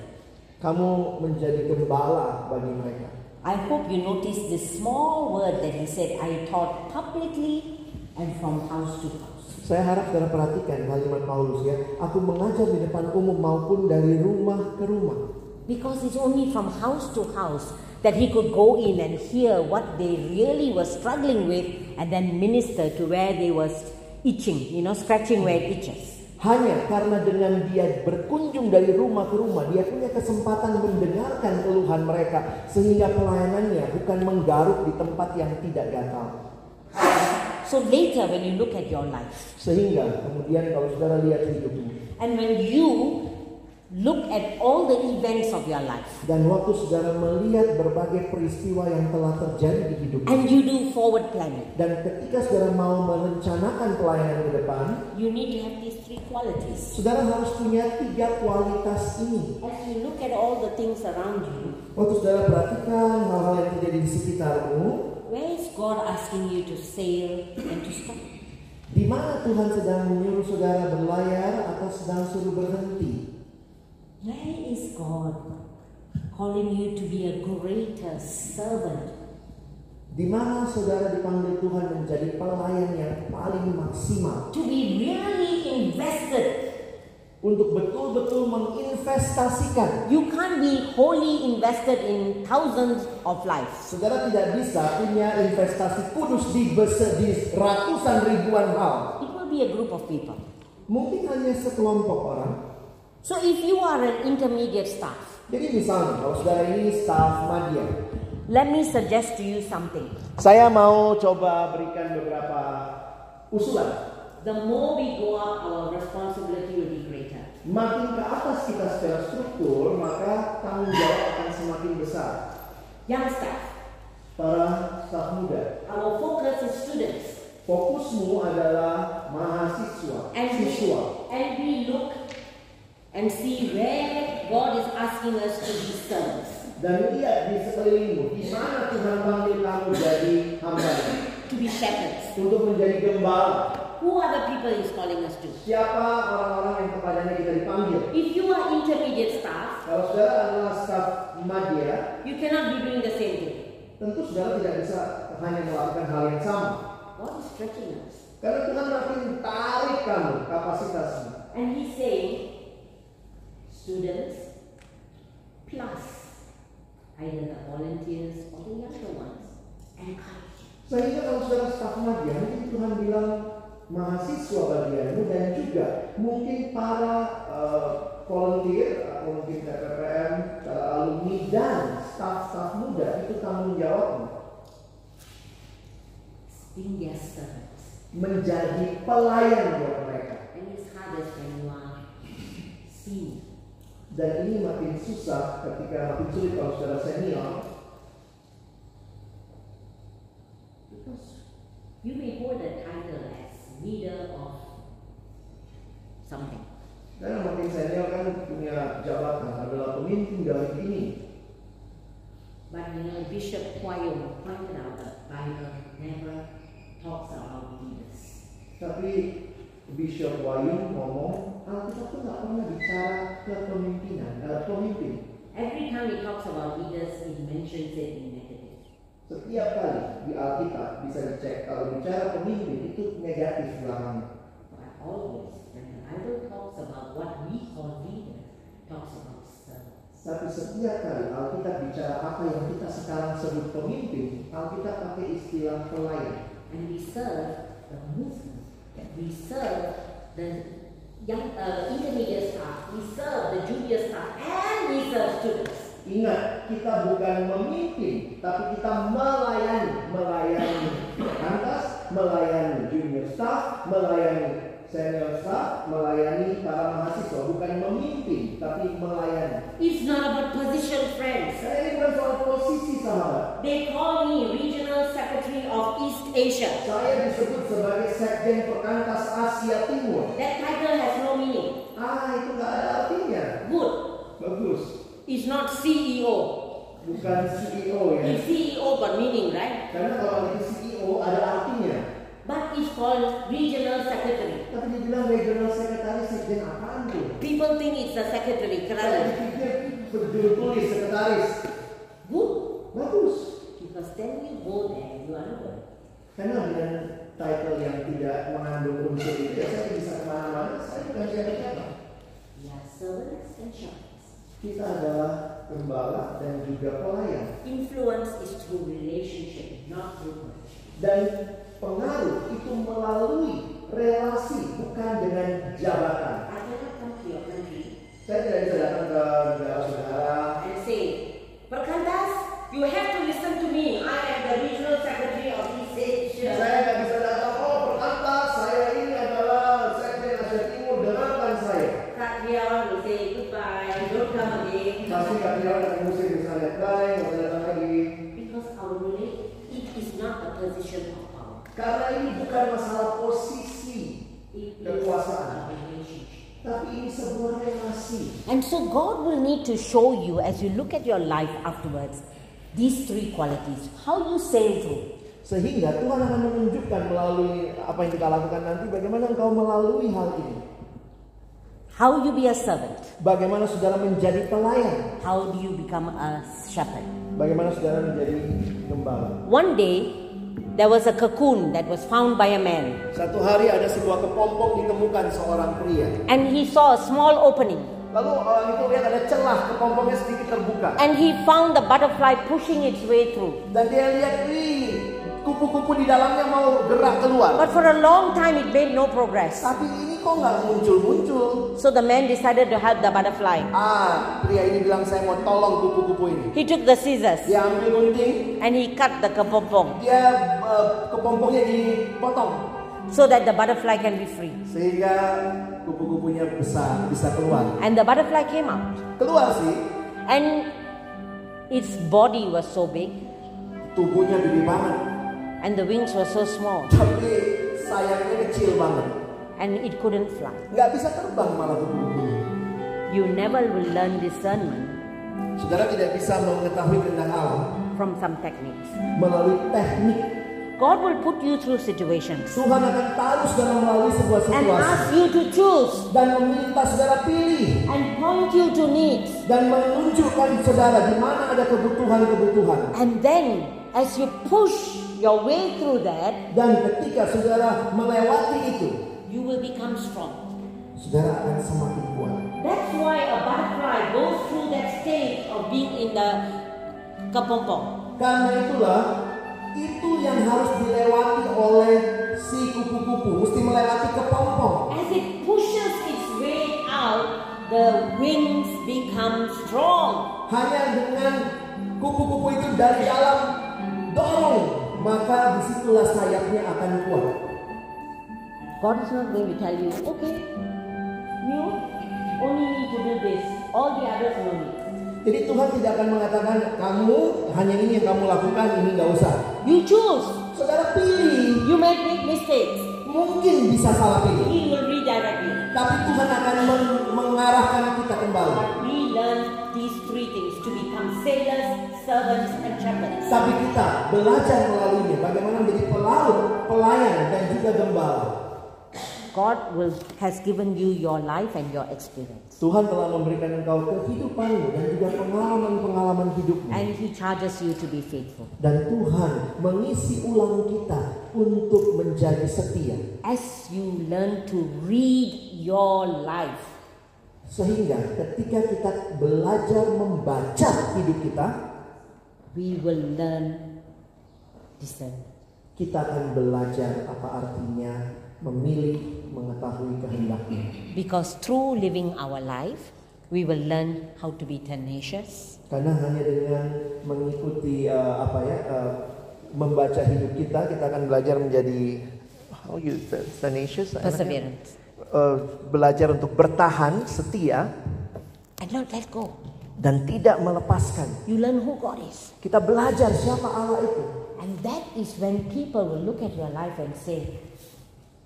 C: Kamu menjadi gembala bagi mereka.
B: I hope you notice this small word that he said, I taught publicly and from house to house.
C: Saya harap saudara perhatikan kalimat Paulus ya. Aku mengajar di depan umum maupun dari rumah ke rumah.
B: Because it's only from house to house that he could go in and hear what they really were struggling with and then minister to where they were itching, you know, scratching where it itches.
C: Hanya karena dengan dia berkunjung dari rumah ke rumah, dia punya kesempatan mendengarkan keluhan mereka sehingga pelayanannya bukan menggaruk di tempat yang tidak gatal.
B: So later, when you look at your life
C: Sehingga kemudian kalau saudara lihat hidupmu
B: and when you look at all the events of your life
C: dan waktu saudara melihat berbagai peristiwa yang telah terjadi di hidupmu
B: and you do forward planning,
C: dan ketika saudara mau merencanakan pelayanan ke depan,
B: you need to have these three qualities.
C: saudara harus punya tiga kualitas ini.
B: As you look at all the things around you,
C: Waktu saudara perhatikan hal-hal yang terjadi di sekitarmu,
B: Where is God asking you to sail and to stop?
A: Di mana Tuhan sedang menyuruh saudara berlayar atau sedang suruh berhenti?
B: Where is God calling you to be a greater servant?
A: Di mana saudara dipanggil Tuhan menjadi pelayan yang paling maksimal
B: To be really invested.
A: untuk betul-betul menginvestasikan.
B: You can't be wholly invested in thousands of lives.
A: Saudara tidak bisa punya investasi kudus di, bese- di ratusan ribuan hal.
B: It will be a group of people.
A: Mungkin hanya sekelompok orang.
B: So if you are an intermediate staff,
A: Jadi misalnya kalau saudara ini staff media,
B: let me suggest to you something.
A: saya mau coba berikan beberapa usulan.
B: The more we go up, our responsibility will be greater.
A: Makin ke atas kita secara struktur, maka tanggung jawab akan semakin besar.
B: Young staff,
A: Para staf muda,
B: our focus is students.
A: fokusmu adalah mahasiswa,
B: And we,
A: siswa.
B: and we look and see where God is asking us to be servants,
A: Dan lihat di sekelilingmu, di mana Tuhan panggil kamu jadi hamba,
B: to be shepherds.
A: untuk menjadi gembala.
B: Who are the people He's calling us to?
A: Siapa orang-orang yang kepadanya kita dipanggil?
B: If you are intermediate staff,
A: Kalau saudara adalah staf media,
B: you cannot be doing the same thing.
A: Tentu saudara tidak bisa hanya melakukan hal yang sama.
B: God is stretching us.
A: Karena Tuhan makin tarik kamu kapasitasmu.
B: And He's saying, students plus either the volunteers or the younger ones, encourage.
A: Sehingga kalau saudara staf media, mungkin ya. Tuhan bilang mahasiswa bagianmu dan juga mungkin para eh, volunteer atau mungkin TPPM, para alumni dan staf-staf muda itu tanggung jawabmu
B: Being their servants.
A: menjadi pelayan buat mereka.
B: And it's hardest when you are senior.
A: Dan ini makin susah ketika makin sulit kalau saudara senior
B: Because you may hold a title as leader of something,
A: Karena makin senior kan punya jabatan adalah pemimpin dalam ini.
B: but you know Bishop Quayle pointed out that Bible never talks about leaders.
A: Tapi Bishop Wayung ngomong Alkitab tuh nggak pernah bicara kepemimpinan, eh, pemimpin.
B: Every time it talks about leaders, it mentions it in negative.
A: Setiap kali di Alkitab bisa dicek kalau bicara pemimpin itu negatif belakangnya.
B: But always, when the Bible talks about what we call leaders, it talks about servants.
A: Tapi setiap kali Alkitab bicara apa yang kita sekarang sebut pemimpin, Alkitab pakai istilah pelayan.
B: And we serve the movement. We serve the young, uh, intermediate staff. We serve the junior staff, and we serve students.
A: Ingat, kita bukan memimpin, tapi kita melayani, melayani atas, melayani junior staff, melayani senior staff, melayani para mahasiswa, bukan memimpin, tapi melayani.
B: It's not about position, friends.
A: Karena ini bukan soal posisi sahabat.
B: They call me Regional Secretary of East Asia.
A: Saya disebut sebagai sekjen perkantas Asia Timur.
B: That title has no meaning.
A: Ah, itu nggak ada artinya.
B: Good.
A: Bagus.
B: It's not CEO.
A: Bukan CEO ya.
B: If CEO got meaning, right?
A: Karena kalau itu CEO ada artinya.
B: But it's called Regional Secretary.
A: Tapi dibilang regional sekretaris sekjen apaan tuh?
B: People think it's a secretary,
A: Saya
B: kerana.
A: pikir berjudul tulis sekretaris
B: Good.
A: bagus
B: Because then you go there, you are not.
A: karena dengan title yang tidak mengandung unsur itu ya saya bisa kemana-mana saya bukan siapa-siapa
B: We are servants and shepherds.
A: kita adalah gembala dan juga pelayan
B: Influence is through relationship, not through position.
A: dan pengaruh itu melalui relasi bukan dengan jabatan
B: I cannot come to your country
A: saya tidak bisa datang ke negara-negara
B: and say, Perkantas, you have to listen to me. I am the regional secretary of East
A: saya
B: Asia.
A: nggak bisa datang oh perkata saya ini adalah sekjen Asia Timur dengarkan saya
B: Satya will say goodbye, don't come again.
A: pasti kami akan musik misalnya baik nggak usah datang lagi
B: Because our relate, it is not a position of power.
A: karena ini bukan masalah posisi
B: It is
A: Kekuasaan.
B: a relationship.
A: tapi ini sebuah relasi
B: And so God will need to show you as you look at your life afterwards these three qualities. How you sail through.
C: Sehingga Tuhan akan menunjukkan melalui apa yang kita lakukan nanti bagaimana engkau melalui hal ini.
B: How you be a servant.
C: Bagaimana saudara menjadi pelayan.
B: How do you become a shepherd.
C: Bagaimana saudara menjadi gembala.
B: One day, there was a cocoon that was found by a man,
C: Satu hari ada sebuah kepompong ditemukan seorang pria.
B: and he saw a small opening,
C: Lalu orang itu lihat ada celah kepompongnya sedikit terbuka.
B: and he found the butterfly pushing its way through.
C: Dan dia lihat ih kupu-kupu di dalamnya mau gerak keluar.
B: But for a long time, it made no progress.
C: Tapi ini kok nggak muncul-muncul.
B: So the man decided to help the butterfly.
C: Ah, pria ini bilang saya mau tolong kupu-kupu ini.
B: He took the scissors
C: Dia ambil gunting,
B: and he cut the kepompong
C: dia eh, kepompongnya dipotong
B: so that the butterfly can be free.
C: sehingga kupu-kupunya besar bisa keluar.
B: And the butterfly came out,
C: Keluar sih,
B: and its body was so big,
C: tubuhnya gede banget,
B: and the wings were so small,
C: tapi sayapnya kecil banget.
B: and it couldn't fly.
C: Nggak bisa terbang malah kupu-kupunya.
B: You never will learn discernment
C: Saudara tidak bisa mengetahui tentang alam
B: from some techniques.
C: melalui teknik.
B: God will put you through situations
C: Tuhan akan taruh saudara melalui sebuah
B: and
C: situasi
B: ask you to choose
C: dan meminta saudara pilih
B: and point you to needs.
C: dan menunjukkan saudara di mana ada kebutuhan-kebutuhan.
B: And then, as you push your way through that,
C: Dan ketika saudara melewati itu,
B: you will become strong.
C: saudara akan semakin kuat.
B: That's why a butterfly goes through that stage of being in the kapompong.
C: Karena itulah itu yang harus dilewati oleh si kupu-kupu mesti melewati kepompong.
B: As it pushes its way out, the wings become strong.
C: Hanya dengan kupu-kupu itu dari dalam dorong maka disitulah sayapnya akan kuat.
B: God is not going to tell you, okay, you only need to do this, all the others no need.
C: Jadi Tuhan tidak akan mengatakan kamu hanya ini yang kamu lakukan ini nggak usah.
B: You choose.
C: Saudara pilih
B: You might make mistakes.
C: mungkin bisa salah pilih,
B: He will redirect you.
C: tapi Tuhan akan meng- mengarahkan kita kembali.
B: But we learn these three things to become sailors, servants, and shepherds.
C: Tapi kita belajar melaluinya bagaimana menjadi pelaut, pelayan dan juga gembala.
B: God will, has given you your life and your experience.
C: Tuhan telah memberikan engkau kehidupanmu dan juga pengalaman-pengalaman hidupmu.
B: And He charges you to be faithful.
C: Dan Tuhan mengisi ulang kita untuk menjadi setia.
B: As you learn to read your life,
C: Sehingga ketika kita belajar membaca hidup kita,
B: we will learn discernment.
C: kita akan belajar apa artinya memilih mengetahui kehendaknya.
B: Because through living our life, we will learn how to be tenacious,
C: Karena hanya dengan mengikuti eh, apa ya eh, membaca hidup kita, kita akan belajar menjadi how you tenacious, anaknya?
B: perseverance,
C: Eh, belajar untuk bertahan, setia,
B: and not let go.
C: dan tidak melepaskan.
B: You learn who God is.
C: Kita belajar siapa Allah itu,
B: And that is when people will look at your life and say,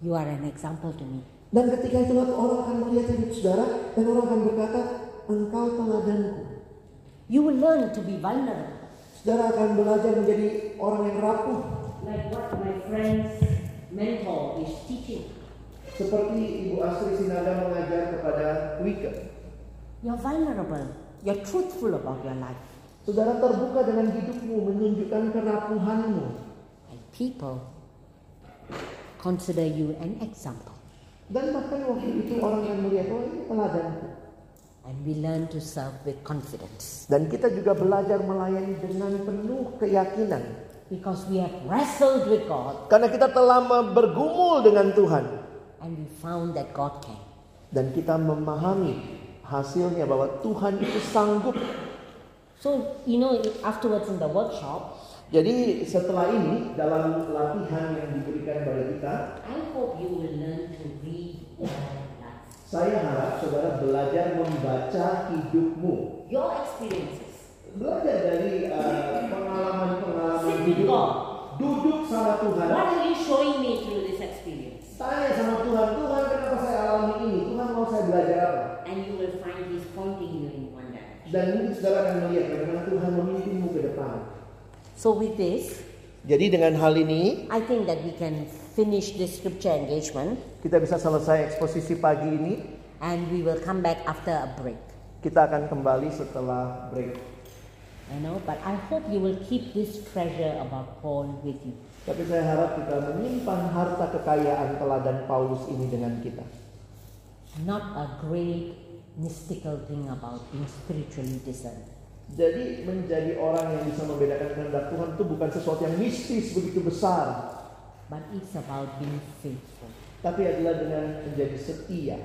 B: You are an example to me.
C: dan ketika itu orang akan melihat hidup saudara dan orang akan berkata, engkau teladanku.
B: You will learn to be vulnerable,
C: Saudara akan belajar menjadi orang yang rapuh,
B: like what my friend's mentor is teaching.
C: seperti Ibu Asri Sinaga mengajar kepada Wika.
B: You're vulnerable, you're truthful about your life.
C: Saudara terbuka dengan hidupmu menunjukkan kerapuhanmu
B: And people consider you an example.
C: dan bahkan waktu itu orang yang melihat oh ini teladanku.
B: And we learn to serve with confidence
C: Dan kita juga belajar melayani dengan penuh keyakinan
B: because we have wrestled with God
C: karena kita telah me- bergumul dengan Tuhan
B: and we found that God can.
C: dan kita memahami hasilnya bahwa Tuhan itu sanggup.
B: So, you know, afterwards in the workshop,
C: Jadi setelah ini dalam latihan yang diberikan pada kita,
B: I hope you will learn to read your life.
C: saya harap saudara belajar membaca hidupmu.
B: your experiences.
C: belajar dari uh, pengalaman-pengalaman
B: Sit with
C: hidup
B: God.
C: duduk sama Tuhan
B: What are you showing me through this experience?
C: tanya sama Tuhan Tuhan kenapa saya alami ini Tuhan mau saya belajar apa
B: And you will find He's pointing you in one direction.
G: Dan mungkin saudara akan melihat bagaimana Tuhan memimpinmu ke depan.
B: So, with this,
A: Jadi dengan hal ini
B: I think that we can finish this scripture engagement
A: kita bisa selesai eksposisi pagi ini.
B: and we will come back after a break.
A: Kita akan kembali setelah break.
B: You know, but I hope you will keep this treasure about Paul with you.
A: Tapi saya harap kita menyimpan harta kekayaan teladan Paulus ini dengan kita.
B: Not a great mystical thing about being spiritually discerned.
A: Jadi menjadi orang yang bisa membedakan kehendak Tuhan itu bukan sesuatu yang mistis begitu besar,
B: but it's about being faithful
A: tapi adalah dengan menjadi setia,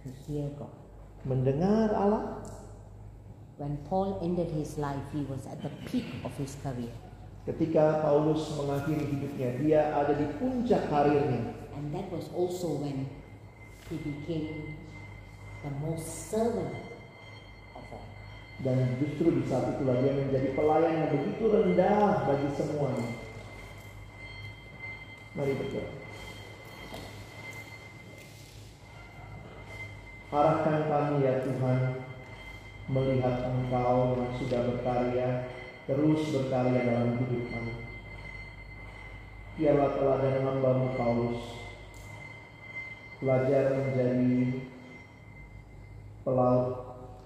B: to hear God.
A: mendengar Allah.
B: When Paul ended his life, he was at the peak of his career.
A: Ketika Paulus mengakhiri hidupnya, dia ada di puncak karirnya.
B: And that was also when he became the most servant of all.
A: Dan justru di saat itulah dia menjadi pelayan yang begitu rendah bagi semuanya. Mari berdoa. Arahkan kami ya Tuhan melihat Engkau yang sudah berkarya, terus berkarya dalam hidup kami. Dialah teladan hambamu Paulus. Belajar menjadi pelaut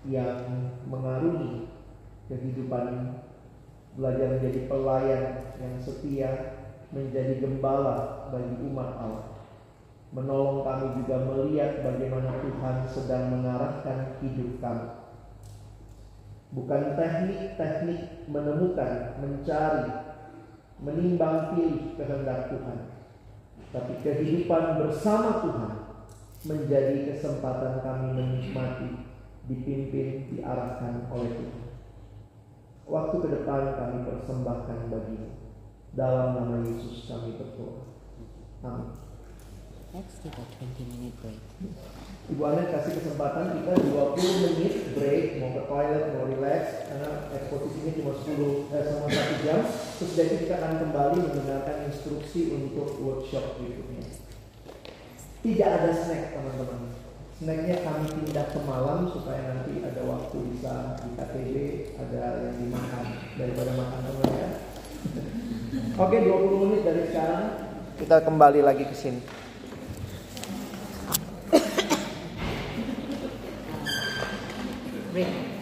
A: yang mengarungi kehidupan belajar menjadi pelayan yang setia menjadi gembala bagi umat Allah menolong kami juga melihat bagaimana Tuhan sedang mengarahkan hidup kami bukan teknik-teknik menemukan mencari menimbang pilih kehendak Tuhan tapi kehidupan bersama Tuhan menjadi kesempatan kami menikmati, dipimpin, diarahkan oleh Tuhan. Waktu ke depan kami persembahkan bagimu. Dalam nama Yesus kami berdoa. Amin.
B: Let's take a 20 minute break.
A: Ibu Ana kasih kesempatan kita 20 menit break mau ke toilet mau relax karena eksposisinya cuma 10 eh, sama 1 jam sesudah itu kita akan kembali mendengarkan instruksi untuk workshop berikutnya tidak ada snack teman-teman snacknya kami pindah ke malam supaya nanti ada waktu bisa di KTB ada yang dimakan daripada makan teman ya oke 20 menit dari sekarang kita kembali lagi ke sini
B: Break.